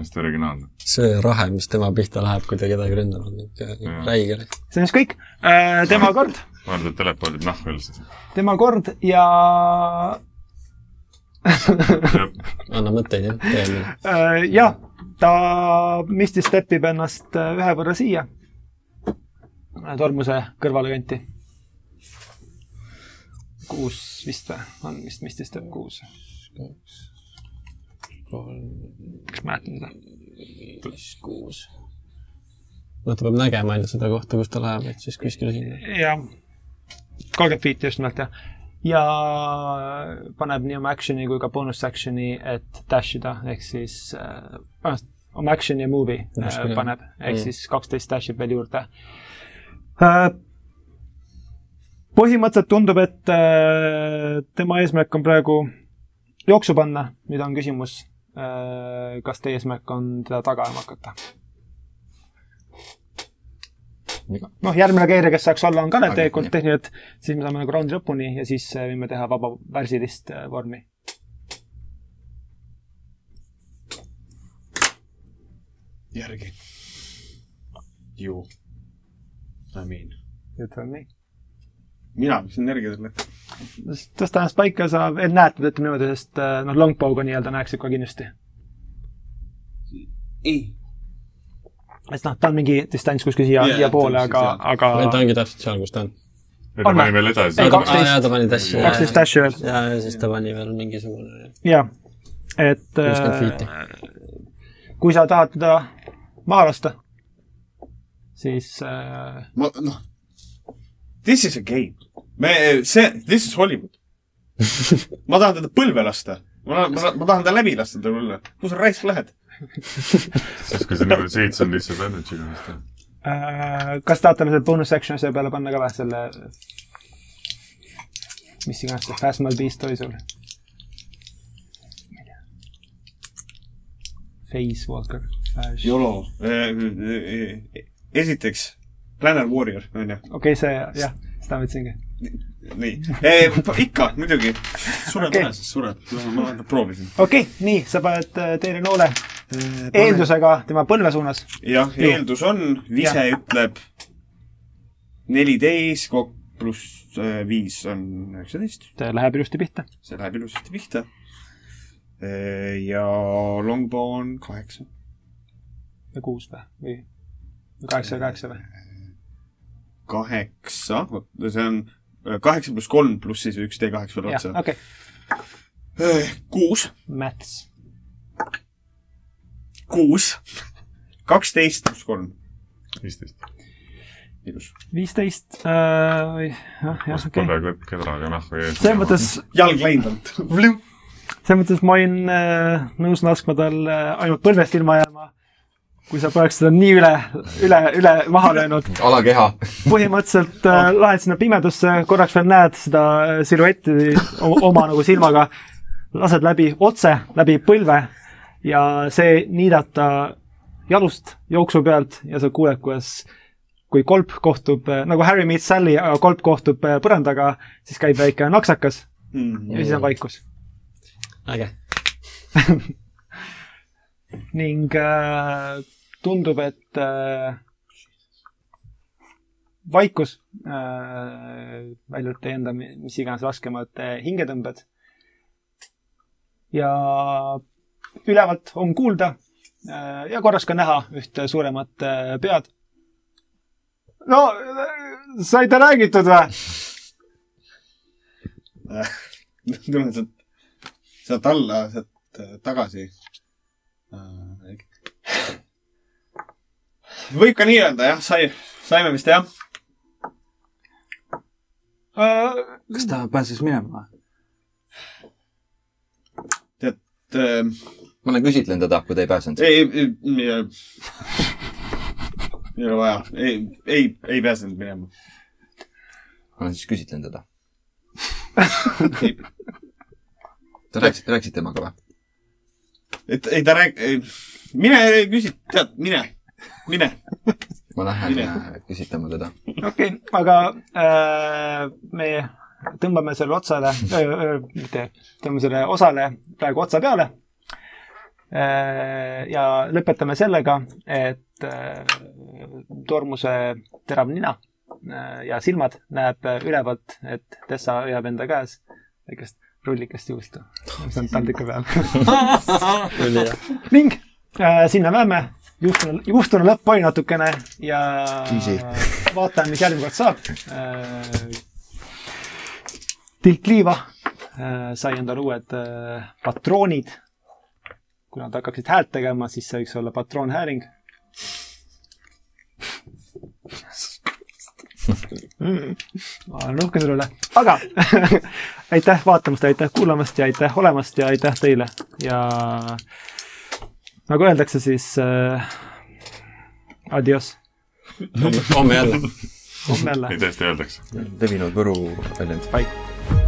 hästi originaalne .
see rahe , mis tema pihta läheb , kui ta kedagi äh, ründab , on ikka
Jah.
räige .
see on siis kõik uh, . tema kord ,
ma arvan , et telepoodid nahku üldse .
tema kord ja
anna mõtteid , jah , teeme .
uh, , jah , ta misti step ib ennast äh, ühe võrra siia . tormuse kõrvale kanti . kuus vist või , on vist misti step kuus kas mäletan seda ?
viis , kuus . no ta peab nägema ainult seda kohta , kus ta läheb , et siis kuskile sinna .
jah , kolmkümmend feet just nimelt jah . ja paneb nii oma action'i kui ka bonus action'i , et dash ida ehk siis äh, vabandust, oma action'i ja move'i äh,
Just, jah.
paneb ehk
Mm.
mm. siis kaksteist dash ib veel juurde äh, . põhimõtteliselt tundub , et äh, tema eesmärk on praegu jooksu panna , nüüd on küsimus äh, kas teie eesmärk on teda taga ajama hakata ? noh , järgmine keerja , kes saaks olla , on Kalev tegelikult tehniliselt , siis me saame nagu raundi lõpuni ja siis äh, võime teha vaba värsilist äh, vormi .
järgi . ju . I mean .
ütleme nii .
mina peaks energia talle .
tõsta ennast paika , sa veel näed , ütleme niimoodi , sest äh, noh , longbow'ga nii-öelda näeks ikka kindlasti .
ei .
et noh , ta on mingi distants kuskil siia
Jaa,
yeah, , siiapoole ,
täpselt,
aga , aga
ta ongi täpselt seal , kus ta on .
ei , ta
On
pani
või?
veel edasi
Ei, . kaksteist.
jaa , ta pani dashi .
kaksteist dash'i veel ,
ja , ja siis ta pani veel mingisugune
jaa . et
kuuskümmend
äh,
feet'i .
kui sa tahad teda maha lasta , siis äh,
ma , noh . This is a game . me , see , this is Hollywood . ma tahan teda põlve lasta . ma tahan , ma tahan , ma tahan ta läbi lasta tal olla . kus sa raisk lähed ?
siis kui see niimoodi siit , see on lihtsalt energy'ga .
äh, kas tahad talle selle bonus action'i asja peale panna ka või , selle mis iganes see Phasmal Beast oli sul ? Phase Walker .
YOLO . Äh, esiteks , Planet Warrior , onju .
okei , see jah , seda ma ütlesingi .
nii , ikka muidugi . sureb
Okei.
ära , siis sureb . ma vähemalt proovisin .
okei okay, , nii , sa paned äh, teine noole eeldusega tema põlve suunas .
jah , eeldus on , vise ütleb neliteist kokku pluss äh, viis on üheksateist ,
ta läheb ilusti pihta .
see läheb ilusasti pihta . ja longbow on kaheksa .
või kuus või , või või kaheksa ja kaheksa või ?
kaheksa , see on äh, kaheksa pluss kolm pluss siis üks D kaheksa veel
jah ,
otsa .
okei okay. ,
kuus ,
Mats .
kuus , kaksteist pluss kolm ,
viisteist .
ilus .
viisteist äh, , jah , jah ,
must
okei okay. .
pole kedraga nahku ees .
selles mõttes
jalg läinud on .
selles mõttes ma olin äh, nõus laskma tal äh, ainult põlvest ilma jääma , kui sa poleks seda nii üle , üle , üle maha löönud .
alakeha .
põhimõtteliselt äh, lähed sinna pimedusse , korraks veel näed seda äh, siluetti o- oma nagu silmaga , lased läbi otse , läbi põlve ja see niidab ta jalust jooksu pealt ja sa kuuled , kuidas kui kolp kohtub , nagu Harry meets Sally , aga kolp kohtub äh, põrandaga , siis käib väike naksakas ja siis on vaikus .
äge .
ning äh, tundub , et äh, vaikus äh, , välja arvatud teie enda mi- mis iganes raskemad äh, hingetõmbed . ja ülevalt on kuulda äh, ja korraks ka näha ühte suuremat äh, pead . no äh, saite räägitud või ?
tulen sealt , sealt alla , sealt äh, tagasi . võib ka nii öelda , jah , sai , saime vist jah .
kas ta pääses minema ?
et äh,
ma olen küsitlenud teda , kui ta ei pääsenud .
ei , ei , ei , ei ole vaja , ei , ei , ei pääsenud minema .
ma olen siis küsitlenud teda . Te rääkisite , rääkisite temaga või ?
et ei , ta rääk- , mine küsi , tead , mine , mine .
ma lähen
Mine.
äh, küsitlema teda .
okei , aga äh, me tõmbame selle otsale , mitte , tõmbame selle osale praegu otsa peale äh, . ja lõpetame sellega , et äh, tormuse terav nina äh, ja silmad näeb äh, ülevalt , et Tessa hoiab enda käes väikest rullikest juustu , mis on taldriku peal . ning äh, sinna läheme , juhtun , juhtun lõpp oli natukene ja
Easy.
vaatan , mis järgmine kord saab äh, . tilk liiva äh, sai endale uued äh, patroonid . kui nad hakkaksid häält tegema , siis see võiks olla patroonhääling mm. . ma olen uhke selle üle , aga aitäh vaatamast ja aitäh kuulamast ja aitäh olemast ja aitäh teile ja nagu öeldakse , siis äh, adios ,
homme jälle .
homme jälle .
nii tõesti öeldakse .
levinud Võru väljend .
Bye.